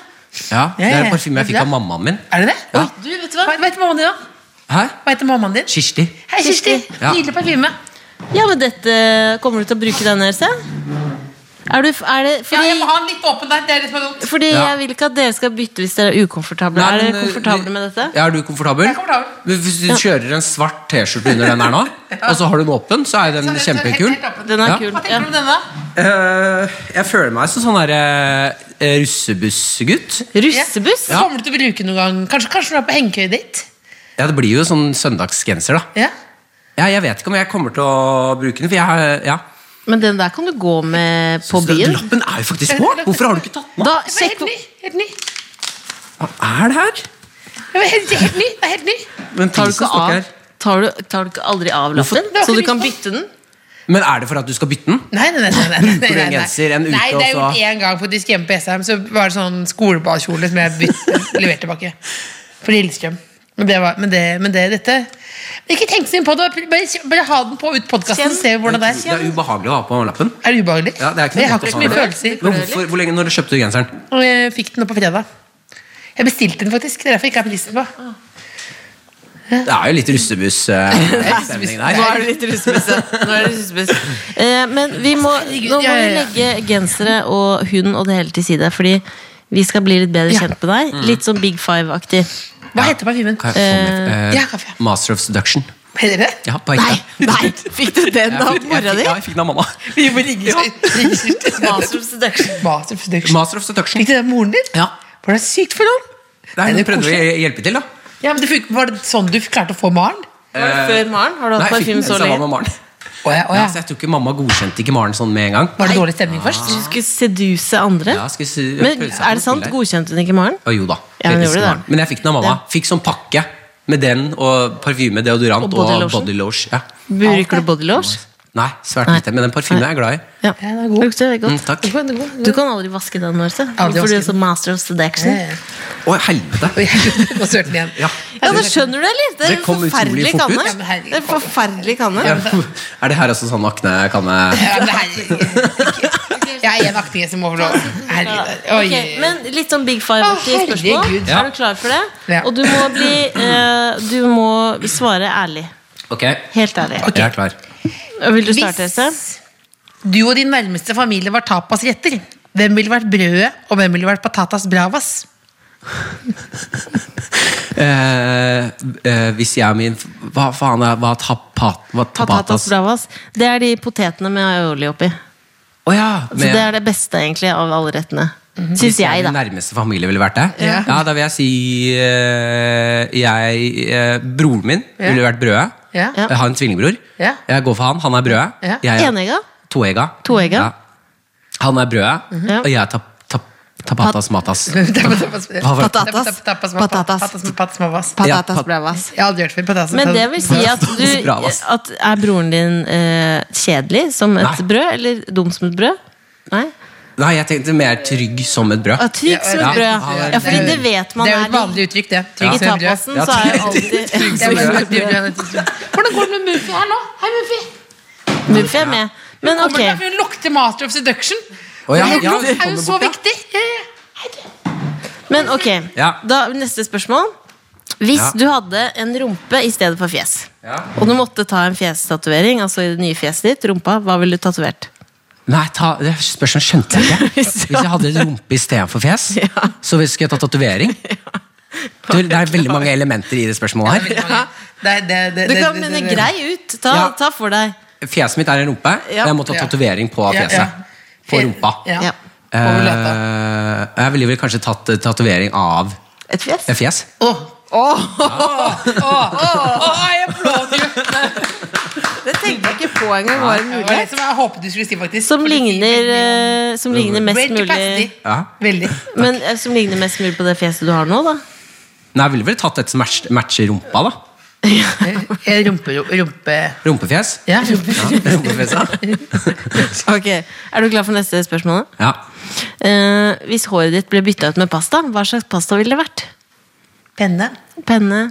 E: Ja, det
C: ja,
E: er
C: ja.
E: parfyme jeg fikk av mammaen min.
C: Er det det?
E: Ja.
C: Oi, du, vet du hva? Hva heter mammaen din, da?
E: Hæ?
C: Hva heter mammaen din?
E: Kirsti.
C: Hei, Kirsti.
E: Ja.
C: Nydelig parfyme.
D: Ja, men dette Kommer du til å bruke den, Else? Er du er det,
C: Ja,
D: Fordi,
C: jeg må ha den litt åpen der. Det er litt sånn- dumt.
D: fordi
E: Ja.
D: jeg vil ikke at dere skal bytte hvis dere er ukomfortable.
E: Nei,
D: er
E: men,
D: dere
E: eh,
D: komfortable med dette?
E: Ja, er du komfortabel?
C: Jeg er komfortabel.
E: Men Hvis du kjører en svart T-skjorte under den her nå, og så har du den åpen, så er jo den
C: Så det står helt-
E: kjempekul.
C: helt åpen.
D: Den er
E: Ja.
D: kul.
C: Hva
D: Ja.
C: tenker du om denne? da?
E: Eh, jeg føler meg som sånn der, eh, russebussgutt.
D: Russebuss?
C: Ja. Kommer du til å bruke den noen gang? Kanskje, kanskje du er på hengekøyet ditt?
E: Ja, det blir jo sånn søndagsgenser, da.
C: Ja.
E: Ja, jeg vet ikke om jeg kommer til å bruke den, for jeg har ja.
D: Men den der kan du gå med på
E: Så
D: byen.
E: Lappen er jo faktisk på! Hvorfor har du ikke tatt den
D: Da,
C: Den var
D: sjekk
C: helt ny. Helt ny.
E: Hva er det her?
C: Den var helt, helt ny. Den er helt ny.
E: Men,
D: Tar du
E: prisen
D: ikke
E: står ikke
D: av
E: her.
D: Tar du, tar du ikke aldri av lappen,
C: Det er
D: så du
C: ikke
D: kan
C: lyst
D: bytte den?
E: Men er det for at du skal bytte den?
C: Nei, nei, nei, nei, nei, nei,
E: Bruker du en
C: nei.
E: genser en uke,
C: Nei, det er
E: og så-
C: gjort én gang faktisk hjemme på SM. Så var det sånn skolebadkjole som jeg bytte- leverte tilbake. For Lillestrøm. Men det var Men det, men det dette men Ikke tenk så mye på det. Bare, bare ha den på ut podkasten,
D: Kjenn.
C: se hvordan det
E: Det
C: er.
E: er ubehagelig å ha på lappen.
C: Er det ubehagelig?
E: Ja, det er ikke noe
C: jeg har
E: godt å
C: ikke så mye
E: svare.
C: følelser.
E: Men hvorfor, hvor lenge, Når du kjøpte du genseren?
C: Og jeg fikk den nå på fredag. Jeg bestilte den faktisk. Det er derfor jeg ikke har prisen på.
E: Det er jo litt russebuss-stemning der.
D: Nå er det litt russebuss. ja. Nå er det russebuss. Eh, men vi må, nå må
C: ja,
D: vi
C: ja, ja.
D: legge gensere og hund og det hele til side, fordi vi skal bli litt bedre
C: Ja.
E: Mm.
D: kjent med deg. Litt sånn Big Five-aktig.
C: Hva heter parfymen?
E: Ka- sånn, eh,
C: ja, kaffe, ja.
E: Master of Seduction.
C: Heter det?
E: Ja, på
D: Nei,
E: ekte.
D: nei, fikk du den
E: Jeg
D: av
E: fikk- jeg
D: mora
E: fikk-
D: di?
E: Ja, jeg fikk den av mamma.
C: Vi må ringe
D: Master of seduction.
C: Master of Seduction.
E: Master of Seduction.
C: Fikk du det av moren din?
E: Ja.
C: Var det sykt for noen?
E: Nei,
C: Er
E: Hun
C: det
E: prøvde å
C: koselig?
E: hj- hjelpe til, da.
C: Ja, men det fun- Var det sånn du klarte å få Maren?
D: Var det før Maren? Har du
E: Eh,
D: hatt
E: Nei, jeg fikk
D: parfyme
E: den
D: så
E: sammen
D: lenge?
E: med Maren.
C: Å ja, å
E: Ja,
C: ja.
E: så jeg tror ikke mamma godkjente ikke Maren sånn med en gang.
C: Var det dårlig stemning først?
D: Du skulle seduse andre?
E: Ja, skal jeg si-
D: Men
E: prøve seg på
D: er det
E: noe
D: sant?
E: til her.
D: Godkjente hun ikke Maren?
E: Å, jo da.
D: Ja, hun
E: Jeg
D: gjorde
E: elsker
D: det.
E: Maren. Men jeg fikk den av mamma.
D: Ja.
E: Fikk sånn pakke med den og parfyme, deodorant
D: Og
E: og
D: body
E: body
D: lotion.
E: lotion. Ja.
D: Bruker du body lotion?
E: Nei, svært
D: Nei.
E: lite. Men den parfymen er jeg glad i.
D: Ja,
C: Ja, den er god.
D: Lukter veldig
E: Mm,
D: godt.
E: takk.
C: Den er god, den
D: Du kan aldri vaske den, Marce.
C: Aldri
D: For du er
C: vaske
D: så master of seduction.
C: Ja, ja.
E: Å, helvete!
C: Oi, Nå sølte den igjen.
E: Ja.
D: Ja, det skjønner du, eller? Det er
E: Det
D: en
E: kom utrolig
D: forferdelig
E: fort ut.
D: kanne.
C: Ja, men herregud.
D: Det er en forferdelig kanne.
E: Ja. Er det her også sånn akne kan
C: Ja,
E: jeg
C: men herregud. Jeg er en akting som overlår. Herregud. Oi.
D: Ok, men litt sånn Big Five-aktig
C: Å,
D: spørsmål.
C: herregud.
E: Ja.
D: Er du klar for det?
C: Ja.
D: Og du må bli eh, Du må svare ærlig.
E: Ok, jeg
D: Helt ærlig.
E: er klar.
D: Og Vil du starte, Else?
C: Hvis du og din nærmeste familie var tapasretter, hvem ville vært brødet, og hvem ville vært patatas bravas?
E: Eh, eh, hvis jeg og min Hva faen er Hva tapat, hva
D: Patatas
E: tapatas? Å
D: bravas. Det er de potetene med aioli oppi.
E: ja!
D: Så det er det beste egentlig av alle rettene.
C: Mhm.
D: Syns jeg,
E: Min
D: da.
E: nærmeste familie ville vært det?
C: Ja.
E: da vil jeg si eh, jeg, eh, Broren min
C: Ja.
E: ville vært brødet.
C: Ja.
D: Ja.
E: Jeg har en tvillingbror.
C: Ja.
E: Jeg går for han. Han er brødet.
C: Ja.
E: Jeg er
D: Enegga?
E: toegga.
D: Toegga.
E: Ja. Han er brødet,
C: Mhm.
D: Ja.
E: og jeg er tap, tap, tapatas matas.
C: Tapas-
E: Hva var det?
D: Patatas.
C: Tapas- Patatas. Patatas bravas. Jeg
E: Ja,
D: Patatas
E: pat-
D: bravas.
C: har aldri hørt før. Patatas
D: Men det vil si at du
E: Patatas bravas.
D: at Er broren din eh, kjedelig som et
E: Nei.
D: brød? Eller dum som et brød? Nei?
E: Nei, jeg tenkte mer trygg som et brød.
D: Ah, trygg som et
E: Ja,
D: brød, ja.
E: ja.
D: ja. Fordi det vet man
C: Det er jo
D: er
C: et vanlig uttrykk, det. Trygg
D: I
C: som et brød.
D: tapasen så er jo alltid
C: Det er bare- Hvordan går det med Mufi her nå? Hei, Mufi!
D: Muffy er med. Men
C: Kommer
D: ok,
C: det derfor Hun lukter Master of Seduction.
E: Å, ja,
C: Lukt
E: ja,
C: er
E: kommer
C: jo så
E: bort, ja.
C: viktig. Ja, ja, ja.
D: men ok
E: Ja.
D: Da neste spørsmål. Hvis
E: Ja.
D: du hadde en rumpe i stedet for fjes,
E: Ja.
D: og du måtte ta en fjestatovering, altså i det nye fjeset ditt, rumpa, hva ville du tatovert?
E: Nei, ta, det spørsmålet skjønte jeg ikke. Hvis jeg hadde en rumpe istedenfor fjes, så skulle jeg ta tatovering. Du, Det er veldig mange elementer i det spørsmålet her.
C: Det, det, det,
D: Du
C: det-
D: kan
C: det-
D: mene
C: det- det-
D: grei ut. Ta,
E: Ja.
D: ta for deg.
E: Fjeset mitt er en rumpe.
D: Ja.
E: Jeg må ta
C: Ja.
E: tatovering på
C: Ja, ja.
E: fjeset. På rumpa.
C: Ja.
D: Ja.
C: Over lata.
E: Eh, jeg ville vel kanskje tatt eh, tatovering av
D: Et fjes?
E: et fjes.
C: Åh,
D: Det tenkte jeg ikke på engang var en
C: det var det
D: mulighet.
C: som jeg håpet du skulle si, faktisk.
D: Som
C: For det sier
D: ligner,
C: veldig
D: eh, som ligner
C: om-
D: mest
C: Veldig
D: mulig
C: pastig.
E: Ja.
C: Veldig.
D: Men eh, som ligner mest mulig på det fjeset du har nå, da.
E: Nei, jeg ville vel tatt et som match- matcher rumpa, da.
C: Eh, Rumpe, rumpe
E: Rumpefjes.
C: Ja, rumpe.
E: Ja, rumpefjes, ja.
D: Ok, Er du klar for neste spørsmål? da?
E: ja.
D: Eh, hvis håret ditt ble bytta ut med pasta, hva slags pasta ville det vært?
C: Penne.
D: Penne?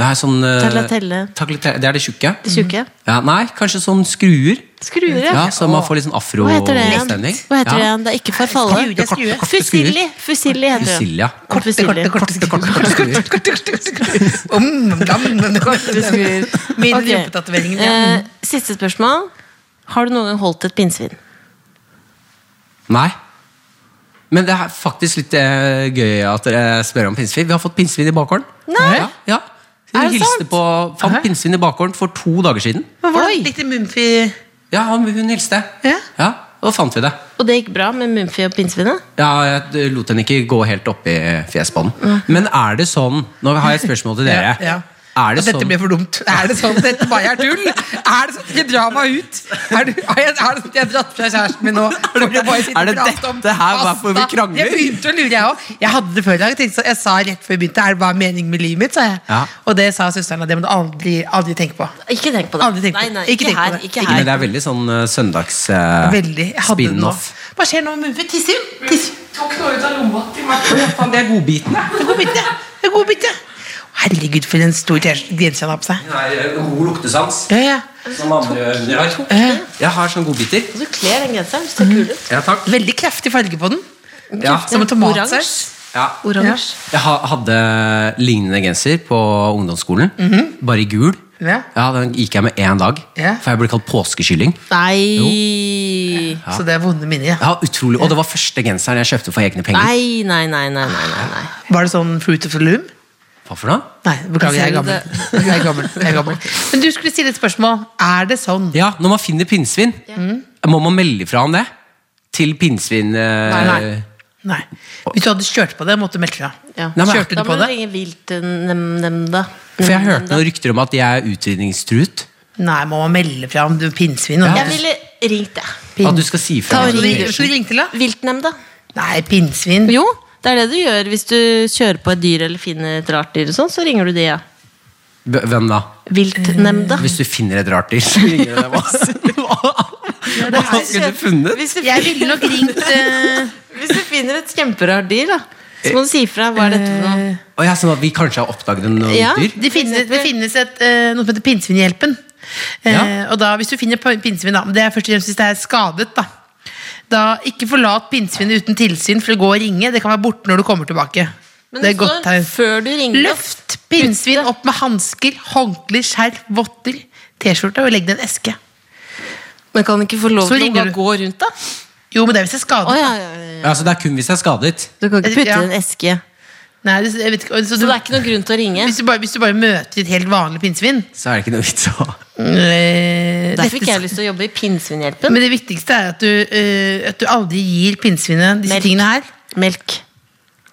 E: Det er sånn eh,
D: Tagliatelle.
E: tagliatelle- Det er det tjukke. Mm.
D: Det tjukke?
E: Ja, nei, kanskje sånn skruer.
D: Skruer, ja.
E: Ja, Så man får litt sånn afro
D: Hva heter det igjen?
E: stemning.
D: Hva heter det
E: ja.
D: igjen? Det er ikke farfalle.
C: Skruer, det er skruer.
D: Fusilli! Fusilli heter det.
E: Fusilli, ja.
D: Korte,
C: Korte, korte, korte, korte, korte, korte, korte, korte, korte. Om, lam, lam, lam. Min
D: Ok.
C: rumpetatovering. Ja.
D: Eh, siste spørsmål. Har du noen gang holdt et pinnsvin?
E: Nei. Men det er faktisk litt eh, gøy at dere spør om pinnsvin. Vi har fått pinnsvin i bakgården.
D: Nei.
E: Ja, ja.
D: Er det
E: Vi hilste
D: sant?
E: på, fant pinnsvin i bakgården for to dager siden.
C: Men hvordan likte Mumphy
E: Ja, han- hun hilste.
C: Ja.
E: ja Og da fant vi det.
D: Og det gikk bra med Mumphy og pinnsvinet?
E: Ja, jeg lot henne ikke gå helt opp i fjesbånden. Men er det sånn Nå har jeg et spørsmål til dere.
C: Ja, ja.
E: Er det
C: At dette
E: sånn
C: ble for dumt. Er det sånn dette bare er tull? Er det sånn at jeg drar meg ut? Er det, er det sånn at jeg har dratt fra kjæresten min nå? Er det,
E: Er det dette her hvorfor vi krangler?
C: Jeg begynte å lure, jeg òg. Jeg hadde det før i dag. Jeg, tenkte sånn- jeg sa rett før vi begynte Er det hva er meningen med livet mitt? sa jeg.
E: Ja.
C: Og det sa søsteren at det må du aldri, aldri tenke på.
D: Ikke tenk på det.
C: Aldri tenk på
D: nei,
C: det.
D: nei,
C: Ikke
D: ikke,
C: tenk på
D: her,
C: det.
D: ikke
E: Men
D: her.
E: det er veldig sånn uh, søndags
C: Veldig. Jeg hadde det nå.
E: spin-off.
C: Hva skjer nå med Mumphy? Tisser hun? Tisser hun?
E: Faen, det er godbitene!
C: Det er godbitene. Det er godbitene. Herregud, for en stor grense han har på seg.
E: Nei, eh, god luktesans.
C: Ja, ja.
E: Som andre hunder har.
C: Eh,
E: Jeg har sånne godbiter.
D: Du kler den genseren. Du ser kul ut.
E: Ja, takk.
C: Veldig kraftig farge på den.
E: Ja,
C: Som en tomatsaus.
D: Oransje.
E: ja.
D: Oransje.
E: Jeg ha- hadde lignende genser på ungdomsskolen, bare i gul.
C: Mhm. Ja.
E: Den gikk jeg med én dag,
C: Ja.
E: for jeg ble kalt påskekylling.
D: Nei.
C: Så det er vonde minner. Ja.
E: Ja, utrolig, Og det var første genseren jeg kjøpte for egne penger.
D: Nei, nei, nei, nei, nei, nei, nei.
C: Var det sånn Fruit of the Loom?
E: Hva for noe?
C: Nei, beklager, jeg er
D: Jeg ser
C: gammel. Jeg er gammel. Jeg er gammel. Men du skulle stille et spørsmål. Er det sånn?
E: Ja, når man finner pinnsvin, Mm. må man melde fra om det? Til pinnsvin eh,
C: Nei, nei. Nei. Hvis du hadde kjørt på det, måtte du melde fra.
D: Ja.
E: Nei, men-
C: Kjørte du
D: Da
C: på
D: må du
C: det?
D: ringe viltnemnda.
E: For jeg hørte noen rykter om at de er utrydningstruet.
C: Nei, må man melde fra om du er pinnsvin?
D: Jeg
C: Ja.
D: ville ringt, jeg.
E: At du skal si fra.
D: Ta og
C: Skal du
D: ring.
C: ringe- skal du ringe til, da?
D: Viltnemnda.
C: Nei, pinnsvin.
D: Jo, det er det du gjør hvis du kjører på et dyr eller finner et rart dyr. og sånn, Så ringer du de, ja.
E: B- Hvem da?
D: Viltnemnda.
E: Eh, Hvis du finner et rart dyr, så ringer du dem. Hva Hva skulle du funnet?
D: Hvis du,
C: Jeg ville nok ringt eh,
D: hvis du finner et kjemperart dyr, da, så må du si fra. Hva er dette for noe?
E: Og jeg er sånn at vi kanskje har oppdaget en nytt
D: Ja.
E: dyr?
C: det, finnes, det finnes et, eh, noe som heter pinnsvinhjelpen. Eh,
E: Ja.
C: Og da, hvis du finner p- pinnsvin, da, men det er først og fremst hvis det er skadet, da. Da, ikke forlat pinnsvinet uten tilsyn for å gå og ringe. Det kan være borte når du kommer tilbake.
D: Men
C: det er
D: det
C: et godt
D: står
C: tegn.
D: før du ringer
C: Løft pinnsvin opp med hansker, håndklær, skjerf, votter, T-skjorte og legg det i en eske.
D: Men kan du ikke få lov
C: Så
D: til å
C: ringer
D: bare
C: du.
D: gå rundt, da?
C: Jo, men det er hvis det er skadet.
D: Å, ja, ja, ja, ja.
E: Ja, så det er kun hvis det er skadet?
D: Du kan ikke putte
C: Ja.
D: i en eske.
C: Nei, det, jeg vet ikke, og så
D: Så
C: du,
D: det er ikke noen grunn til å ringe.
C: hvis, du bare, hvis du bare møter et helt vanlig pinnsvin
E: Så er det ikke noe vits å
C: øh,
D: Der fikk
C: dette-
D: jeg lyst til å jobbe i Pinnsvinhjelpen.
C: Men det viktigste er at du, øh, at du aldri gir pinnsvinet disse
D: Melk.
C: tingene her.
D: Melk.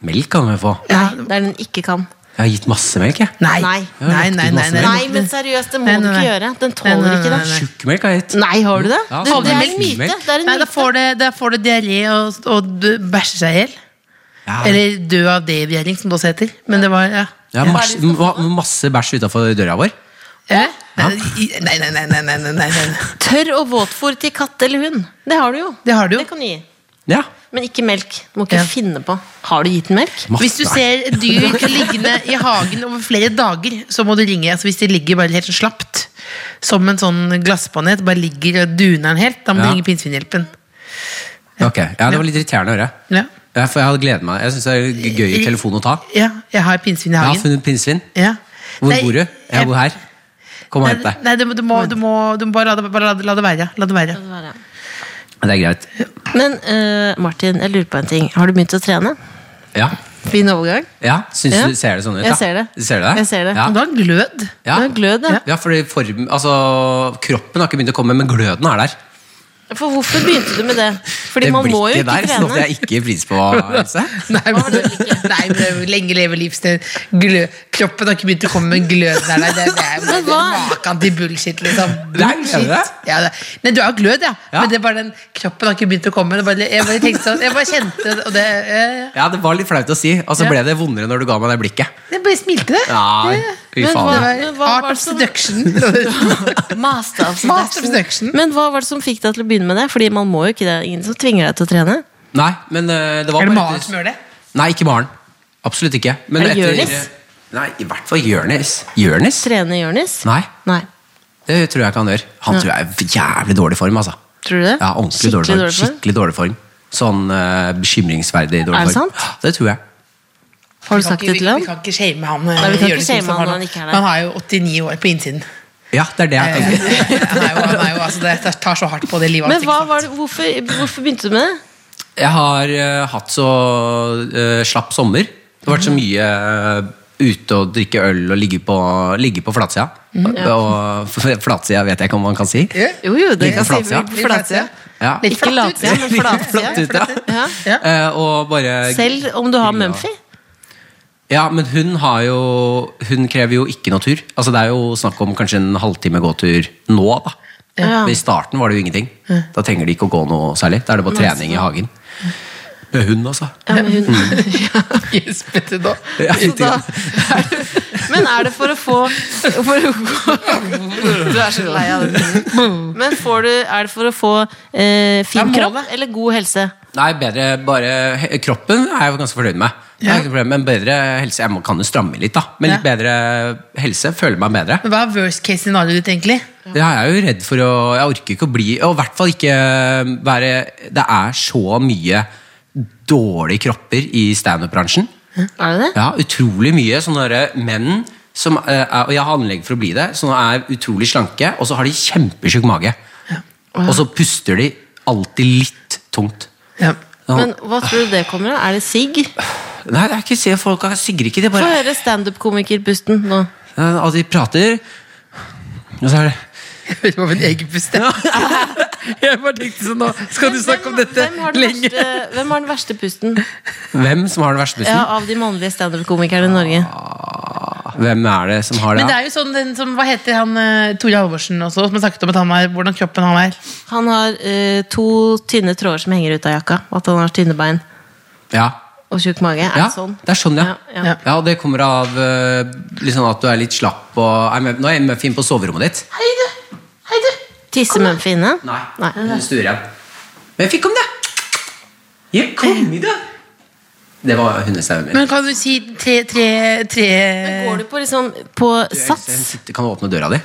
E: Melk kan vi få.
D: Nei, det er den ikke kan.
E: Jeg har gitt masse melk, jeg.
C: Nei.
D: Nei.
C: Nei, nei, nei, nei.
D: Nei, men seriøst, det må
C: Nei, nei,
D: du ikke
C: nei.
D: gjøre. Den
C: Nei,
D: tåler
C: nei,
D: ikke det.
C: nei, nei.
E: Tjukkmelk har jeg gitt.
D: Nei, har du det?
E: Ja,
D: det, det er
E: havremelk.
D: en myte. Det er en
C: Nei, da
D: myte.
C: får det, da får det diaré og, og du bæsjer seg i hjel.
E: Ja.
C: Eller dø av devirering, som det også heter. Men det sånn- var, ja.
E: Det er masse, ma- masse bæsj utafor døra vår.
C: ja. Nei, nei, nei, nei, nei, nei, nei, nei, nei.
D: Tørr og våtfôr til katt eller hund. Det har du jo.
C: Det har du jo.
D: kan du gi.
E: Ja.
D: Men ikke melk. Du må ikke
C: Ja.
D: finne på. Har du gitt den melk?
E: Masse.
C: Hvis du ser et dyr liggende i hagen over flere dager, så må du ringe. Altså, hvis det ligger bare helt sånn slapt, som en sånn glasspanet, bare ligger og duner den helt, da må
E: Ja.
C: du ringe pinnsvinhjelpen.
E: Ok, ja, Det var litt irriterende å høre.
C: Ja.
E: Ja, for jeg hadde gledet meg. Jeg syns det er gøy i telefon å ta.
C: ja, jeg har pinnsvin i
E: Jeg har
C: hagen.
E: funnet pinnsvin.
C: Ja.
E: Hvor
C: Nei,
E: bor du? Jeg bor her. Kom og hent
C: Nei,
E: deg.
C: nei du, må- du, må, du, må, du må bare la det, bare la det, la det være. La det være.
E: Det er greit.
D: Men eh, Martin, jeg lurer på en ting. Har du begynt å trene?
E: Ja.
D: Fin overgang.
E: ja. Syns
D: Ja.
E: du ser det sånn ut?
D: Jeg
E: da?
D: ser det.
E: Du Ser det?
D: Jeg ser det.
E: Ja.
C: Du har en glød.
E: Ja.
D: Du har glød, ja.
E: ja, fordi form, altså, Kroppen har ikke begynt å komme, men gløden er der.
D: For hvorfor begynte du med det? Fordi
E: det
D: man må jo ikke
E: blikket der
D: trene.
E: satte jeg ikke pris på. Else.
C: Nei, men, nei, men det er jo lenge leve livsstil. Glø. Kroppen har ikke begynt å komme med glød. Nei, nei, det, det er jo
D: Men hva-
C: maken til bullshit, liksom.
E: Nei, er det det?
C: Ja, det. Nei, du har glød, ja.
E: Ja.
C: Men det er bare den kroppen har ikke begynt å komme. Det er bare, jeg bare tenkte sånn, jeg bare kjente det, og det eh,
E: Ja, Det var litt flaut å si, og så
C: Ja.
E: ble det vondere når du ga meg det blikket.
C: Jeg bare smilte, det.
E: Nei, fy
D: Men
E: faen.
D: hva-
C: Det var
D: var
C: Art
D: det
C: of
D: som-
C: seduction. Master
D: Master of
C: of
D: seduction.
C: seduction.
D: Men hva var det som fikk deg til å begynne med det? Fordi man må jo ikke det. Ingen som tvinger deg til å trene.
E: Nei, men eh, det var
C: Er det
E: bare-
C: Maren som gjør det?
E: Nei, ikke Maren. Absolutt ikke. Men
D: Er det
E: etter-
D: Jørnis?
E: Nei, i hvert fall Jørnis. Jørnis?
D: Trene Jonis?
E: Nei,
D: Nei.
E: det tror jeg ikke han gjør. Han tror jeg er i jævlig dårlig form, altså.
D: Tror du det?
E: Ja, ordentlig dårlig form. Skikkelig dårlig form. Sånn eh, bekymringsverdig dårlig
D: Er det
E: form.
D: sant?
E: Ja, Det tror jeg.
D: Har
C: Vi
D: du
C: kan
D: sagt
C: ikke-
D: det til
C: vi-
D: ham?
C: Vi kan ikke shame han. eh,
D: Nei, vi kan ikke
C: gjøre det som
D: shame han
C: har
D: når
C: nå.
D: han ikke er der.
C: Han er jo 89 år på innsiden.
E: Ja, det er det jeg
D: Eh.
E: tenker.
C: han er jo, han er jo, altså, det tar så hardt på det livet
D: Men
C: hans. ikke
D: hva
C: sant?
D: var det, hvorfor, hvorfor begynte du med det?
E: Jeg har eh, hatt så eh, slapp sommer. Det har vært så
D: Mhm.
E: mye eh, ute og drikke øl og ligge på, ligge på flatsida.
D: Mhm,
E: Og flatsida vet jeg ikke om man kan si.
D: Jo, jo, det
E: Ligge
D: kan
E: på
D: si
E: flatsida.
C: Litt
D: flatsida.
E: Ja.
C: Litt
D: Ikke
C: flatt ut.
D: latsida, men flatsida.
E: Flatt ut, ja.
D: Ja.
C: Ja.
E: Eh, og bare
D: Selv om du har Mumphy.
E: Ja, men hun har jo Hun krever jo ikke noe tur. Altså, det er jo snakk om kanskje en halvtime gåtur nå, da.
D: Ja.
E: Men I starten var det jo ingenting. Da trenger de ikke å gå noe særlig. Da er det bare trening i hagen. Med hund, altså.
D: Ja, men, hun,
E: Mm.
C: Gjespete nå.
E: Ja,
D: så da, er det, men er det for å få for å gå, Du er så lei av det. Men får du, er det for å få eh, fin
C: Det er
D: kropp
C: målet.
D: eller god helse?
E: Nei, bedre bare he- Kroppen er jeg jo ganske fornøyd med. Det er ikke noe problem, men bedre helse Jeg må, kan jo stramme litt, da. Men litt
C: Ja.
E: bedre helse. Føler meg bedre.
C: Men hva er worst case scenarioet ditt, egentlig?
E: Det er jeg jo redd for å Jeg orker ikke å bli Og i hvert fall ikke eh, være Det er så mye dårlige kropper i standup-bransjen.
D: Er det det?
E: Ja, utrolig mye sånne der menn som eh, er, Og jeg har anlegg for å bli det, som er utrolig slanke, og så har de kjempesjuk mage. Og så puster de alltid litt tungt.
C: Ja.
E: Sånn,
D: Men hva tror du det kommer av? Er det sigg?
E: Nei, det er ikke se folk har sigger ikke. Det er
D: Få
E: bare
D: høre standup-komikerpusten nå.
E: Ja, Og de prater, og så er det
C: Det var min egen bestemt. Jeg bare tenkte sånn nå Skal du snakke om dette
D: hvem, har den
C: lenge?
D: verste, hvem har den verste pusten
E: Hvem som har den verste bussen?
D: ja, av de mannlige standup-komikerne i Norge?
E: Hvem er det som har det?
C: Men det er jo sånn den som, Hva heter han eh, Tore Halvorsen også, som har snakket om at han er, hvordan kroppen han er?
D: Han har eh, to tynne tråder som henger ut av jakka, og at han har tynne bein
E: Ja.
D: og tjukk mage. Er
E: ja,
D: det sånn?
E: det er sånn, ja.
D: Ja,
E: Ja, og det kommer av eh, litt sånn at du er litt slapp og er med, Nå er Muffin på soverommet ditt.
D: Hei, du! Hei, du! Tissemømfe inne?
E: Nei.
D: Nei.
E: Hun sturer igjen. Men jeg fikk om det! Jeg kom i det! Det var hundestemmen min.
C: Men kan du si tre, tre, tre
D: Går du på, liksom, på
E: Hun
D: sats?
E: sitter- Kan du åpne døra di?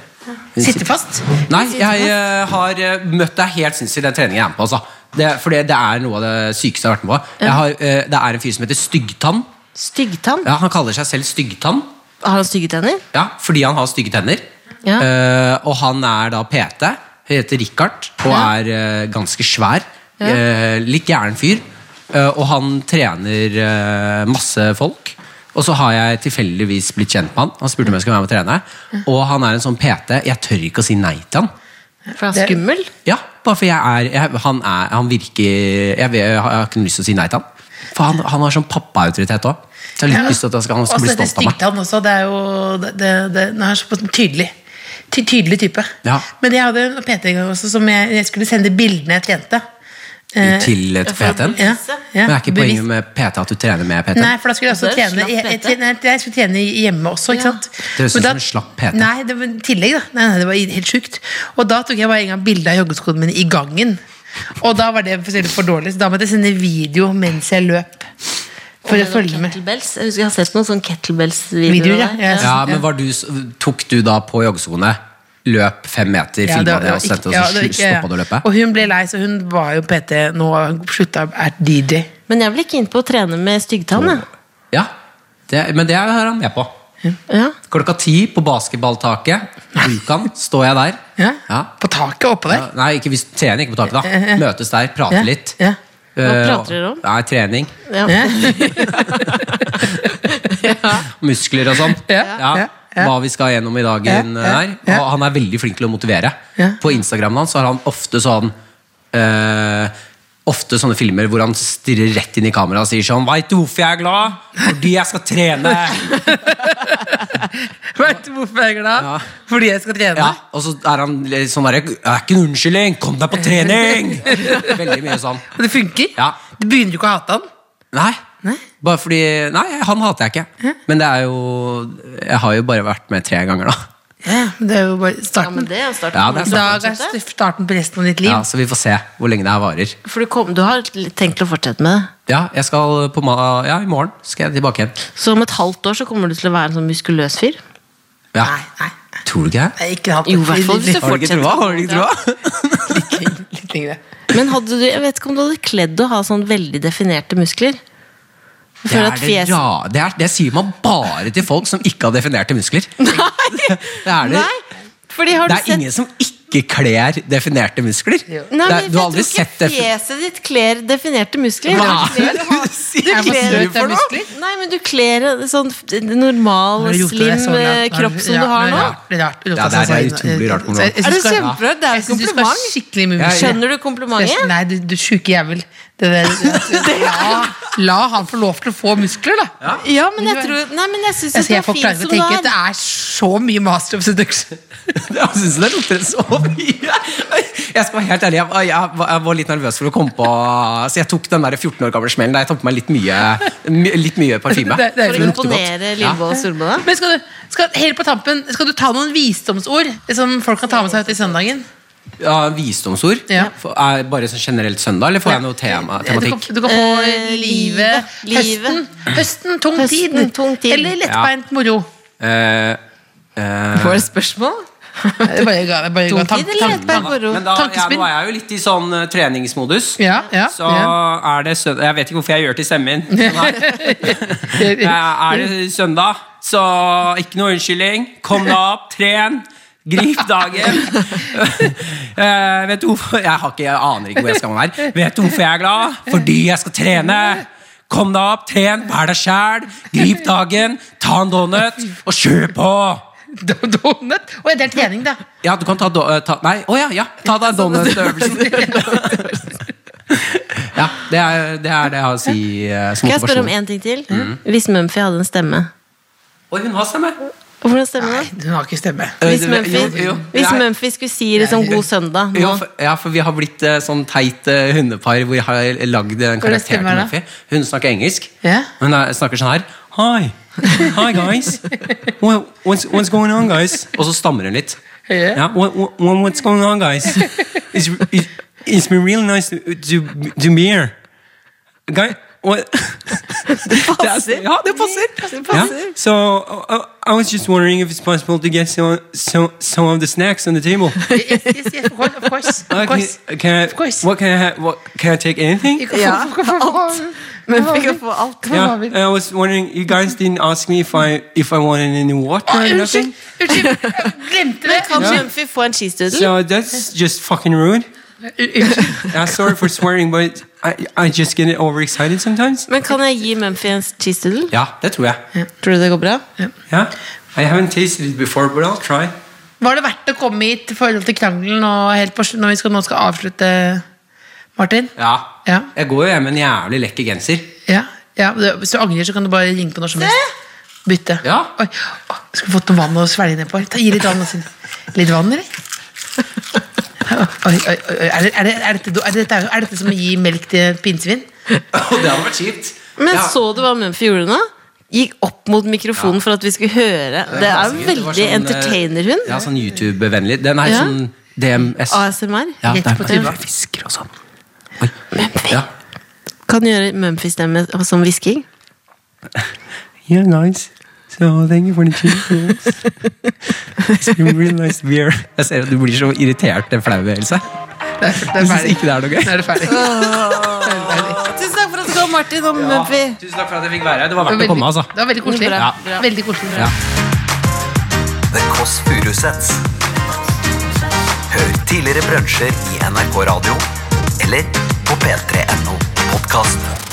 E: Hun
C: Sitte fast?
E: Nei, jeg eh, har eh, møtt deg helt sinnssykt i den treningen jeg er med på. Altså. Det, for det, det er noe av det sykeste jeg har vært med på. Jeg har, eh, det er en fyr som heter Styggtann.
D: Styggtann?
E: Ja, han kaller seg selv Styggtann.
D: Har han stygge tenner?
E: Ja, fordi han har stygge tenner.
D: Ja.
E: Eh, og han er da PT. Heter Richard og
D: Ja.
E: er eh, ganske svær. Eh, litt gæren fyr. Eh, og han trener eh, masse folk. Og så har jeg tilfeldigvis blitt kjent med han. Han spurte om jeg skulle være med og trene. Og han er en sånn PT. Jeg tør ikke å si nei til han.
D: For han er skummel?
E: Ja, bare for jeg er, jeg, han, er han virker jeg, vet, jeg har ikke lyst til å si nei til han. For han, han har sånn pappaautoritet òg. Så jeg har litt lyst til at han skal, han skal
C: Og
E: bli
C: så dette
E: stolt av meg.
C: styggtann også. Det er jo det, det, det, den er såpass tydelig. Ty, tydelig type.
E: Ja.
C: Men jeg hadde en PT en gang også som jeg, jeg skulle sende bildene jeg trente. Eh,
E: Til et PT-en.
C: ja, ja,
E: Men er ikke
C: bevisst.
E: poenget med PT at du trener med PT?
C: Nei, for da skulle jeg også
D: Da er det
C: trene jeg,
D: slapp
C: jeg,
D: PT.
C: tre- nei, jeg skulle trene hjemme også, ikke sant?
E: Det høres
C: Men
E: ut
C: da-
E: som en slapp PT.
C: Nei, det var i tillegg, da. Nei, nei, det var helt sjukt. Og da tok jeg bare en gang bilde av joggeskoene mine i gangen. Og da var det for, for dårlig, så da måtte jeg sende video mens jeg løp. For å
D: Og noen
C: følge med.
D: kettlebells. Jeg husker jeg har sett noen sånne
C: Videoer,
D: kettlebells-videoer
C: ja.
D: der.
C: Ja.
E: Ja, men var du, s- Tok du da på joggeskoene, løp fem meter,
C: Ja,
E: filma
C: det var-
E: det, og
C: det var
E: sendte
C: ikke- ja,
E: og
C: det var
E: så
C: ikke- ja.
E: stoppa du å løpe?
C: Og hun ble lei, så hun var jo PT nå. og Hun slutta å være DJ.
D: Men jeg blir keen på å trene med styggtann. jeg.
E: Ja, det, Men det er han med på.
D: Ja.
E: Klokka ti på basketballtaket, Dukan, står jeg der.
C: Ja.
E: Ja.
C: På taket oppå der.
E: Ja, Nei, ikke, vi trener ikke på taket, da. Møtes der, prater
C: Ja,
E: litt.
C: ja.
E: Eh,
D: prater dere om?
E: Nei, trening.
D: Ja.
E: Muskler og sånn.
C: Ja, ja, ja.
E: Hva vi skal gjennom i dagen
C: Ja, ja,
E: eh, der. Og han er veldig flink til å motivere.
C: Ja.
E: På Instagramen hans så har han ofte sånn eh, Ofte sånne filmer hvor han stirrer rett inn i kameraet og sier sånn Veit du hvorfor jeg er glad? Fordi jeg skal trene!
C: Vet du hvorfor jeg er glad?
E: Ja.
C: Fordi jeg skal trene.
E: Ja, og så er han litt sånn derre Det er ikke en unnskyldning! Kom deg på trening! Veldig mye sånn.
C: Og det funker.
E: Ja.
C: Du begynner jo ikke å hate han.
E: Nei. Bare fordi Nei, han hater jeg ikke. Men det er jo Jeg har jo bare vært med tre ganger, da.
C: Ja, men det er jo bare
D: ja, men
C: starten.
D: det er jo starten.
E: Ja, det er starten.
C: Dag er st- starten på resten av ditt liv.
E: Ja, Så vi får se hvor lenge det her varer.
D: For du, kom, du har tenkt å fortsette med det?
E: Ja, jeg skal på ma ja, i morgen skal jeg tilbake igjen.
D: Så om et halvt år så kommer du til å være en sånn muskuløs fyr?
E: Ja.
C: Nei, nei, nei.
E: Tror du ikke det?
C: Ikke hatt
D: Jo, i hvert fall hvis du
E: Har du ikke
D: fortsetter.
E: troa? Har du ikke troa?
C: Litt lengre.
D: Men hadde du, jeg vet ikke om du hadde kledd å ha sånn veldig definerte muskler? Jeg
E: Det,
D: føler
E: er
D: at
E: det,
D: fjes-
E: ra- det, er, det sier man bare til folk som ikke har definerte muskler.
D: Nei!
E: Det er, det.
D: Nei! Fordi har
E: Det
D: du
E: er
D: sett
E: ingen som ikke kler definerte muskler.
D: Nei,
E: det
D: men
E: er,
D: jeg
E: du har
D: tror
E: aldri
D: ikke
E: sett det
D: fjeset ditt kler definerte muskler.
E: Hva
D: Du kler-
E: er det du sier?
D: Du
C: Er man
D: kler
C: sprøt av muskler?
D: Nei, men du kler en sånn f- normal,
C: Har du gjort det
D: slim
C: så langt?
D: eh,
C: Har du-
D: kropp som
C: ja,
D: du har
C: det er
D: nå.
C: rart, det er rart.
E: Ja, det er utrolig rart hvordan-
C: Jeg- jeg
D: Er det
C: synes du skal-
D: kjempebra? Det er
C: Jeg
D: et
C: synes du skal
D: kompliment.
C: skikkelig mye
E: Jeg-
D: Skjønner du
C: Jeg-
D: komplimentet?
C: Nei, du, du sjuke jævel. Det der, la, la han få lov til å få muskler, da.
D: Ja, men jeg tror Nei, men jeg syns
C: Jeg ser
D: jo det
C: jeg
D: er
C: folk
D: fint
C: pleier å
D: som det
C: tenke at det
D: er.
C: er så mye master of seduction.
E: Jeg syns det lukter så mye. Jeg skal være helt ærlig, jeg, var- jeg, var- jeg var litt nervøs for å komme på Så jeg tok den der 14 år gamle smellen der jeg tok på meg litt mye, my, litt mye parfyme.
C: Det- det er
E: For
D: For å
E: det lukter godt.
D: imponere Lillebolla Solbolla.
C: Men skal du, skal, helt på tampen, skal du ta noen visdomsord som folk kan ta med seg ut i søndagen?
E: Ja, visdomsord?
C: Ja.
E: For- Er bare sånn generelt søndag, eller får jeg noe tema,
C: Du kan,
E: tematikk?
C: du kan få
D: Eh,
C: livet,
D: livet.
C: høsten, høsten, tung
D: Høsten,
C: tid.
D: tung tid.
C: Eller lettbeint moro.
E: Eh, eh,
D: Får jeg spørsmål?
C: Jeg bare ga- jeg bare ga
D: Tung
C: tank-
D: tid eller
C: tank-
D: lettbeint moro?
E: men da, ja,
C: tankespinn.
E: nå er jeg jo litt i sånn eh, treningsmodus.
C: Ja, ja,
E: Så
C: ja.
E: er det søndag Jeg vet ikke hvorfor jeg gjør til stemmen min. Sånn Eh, Er det søndag, så ikke noe unnskyldning. Kom deg opp, tren. Grip dagen. Eh, vet du hvorfor Jeg har ikke, jeg aner ikke hvor jeg skal med den her. Vet du hvorfor jeg er glad? Fordi jeg skal trene. Kom deg opp, ten, vær deg sjæl, grip dagen, ta en donut og kjør på!
C: Do- Donut? Å ja, det er trening, da.
E: Ja, du kan ta, do, eh, ta Nei, å ja, ja, ta deg donut-øvelsen. Ja, det er, det er det jeg har å si eh, som
D: Kan jeg spørre om
E: motivasjon.
D: én ting til?
E: Mm.
D: Hvis Mumphy hadde en stemme
E: Oi, hun har stemme!
D: Og Hvordan stemmer
C: Nei,
D: det?
C: hun har ikke stemme.
D: Hvis
E: Eh,
D: Mumphy,
E: jo, jo,
D: hvis
E: nei.
D: Mumphy skulle si liksom 'god søndag'
E: Jo,
D: nå
E: for, ja, for vi har blitt eh, sånn teit eh, hundepar hvor jeg har lagd en karakter til
C: stemmer, da?
E: Muffy. Hun snakker engelsk.
C: Ja.
E: Hun er, snakker sånn her. Hi. Hi, guys. Well, what's, what's going on, guys? Og så stammer hun litt.
C: Ja.
E: Ja, what, what, what's going on, guys? It's, it, it's been really nice to, to, to be here. Guy, what? Det passer. Ja, det passer. Ja. So, uh, I was just wondering if it's possible to get some, some, some of the snacks on the table.
C: Yes, yes, yes, of course, of course. Of course.
E: Okay, can I,
C: Of course.
E: What can I have? What, can I take anything?
C: You can-
D: Ja,
C: of course, of course.
D: Mumphy kan få alt.
C: hva
E: Yeah,
C: vil-
E: I was wondering. You guys didn't ask me if I if I wanted any water
C: Å,
E: or
C: Unnskyld,
E: nothing.
C: unnskyld. Jeg Glemte det.
D: Kan Mumphy få en cheese doodle?
E: So that's just fucking rude.
C: Unnskyld.
E: Yeah, sorry for swearing, but I I just get overexcited sometimes.
D: Men kan jeg gi Mumphy en cheese doodle?
E: Yeah, that's tror jeg.
D: Tror du det går bra?
E: Yeah, I haven't tasted it before, but I'll try.
C: Var det verdt å komme hit i forhold til krangelen og helt på, slu- når vi skal, nå skal avslutte, Martin?
E: Ja.
C: Ja.
E: Jeg går jo hjem med en jævlig lekker genser.
C: Ja, ja. det- Hvis du angrer, så kan du bare ringe på når som helst. Bytte.
E: Ja.
C: Oi. Å, Skulle fått noe vann å svelge ned på. Ta, gi litt vann. og sin- Litt vann, eller? Oi, oi, oi. Er, det, er, det, er, dette, do- er, dette, er dette som å gi melk til pinnsvin?
E: Og det hadde vært kjipt.
D: Men
E: Ja.
D: så du hva Mumphy gjorde nå? Gikk opp mot mikrofonen for at vi skulle høre. Det er
E: Det
D: jo
E: var
D: veldig
E: sånn, eh,
D: entertainer-hund.
E: Ja, sånn YouTube-vennlig. Den er
D: Ja.
E: sånn DMS.
D: ASMR.
E: Ja,
C: Ah, Rett
E: det er
C: på tuba.
E: bare fisker og sånn. Oi. Ja.
D: Kan gjøre Mumphy-stemme som hvisking.
E: Yeah, nice. So thank you for the cheese. It's been really nice to be here. Jeg ser at du blir så irritert, den flaue Else.
C: Det er, det
E: Du
C: er
E: syns
C: ferdig.
E: ikke det er noe gøy?
C: Nå er det ferdig.
D: Tusen takk for at du kom, Martin og Mumphy.
E: Tusen takk for at jeg fikk være her. Det var verdt
C: veldig-
E: å komme, altså.
C: Det var veldig koselig.
E: Bra,
D: bra.
C: Veldig koselig.
E: Ja.
B: The Kåss Furuseths. Hør tidligere brunsjer i NRK Radio eller på p3.no podkast.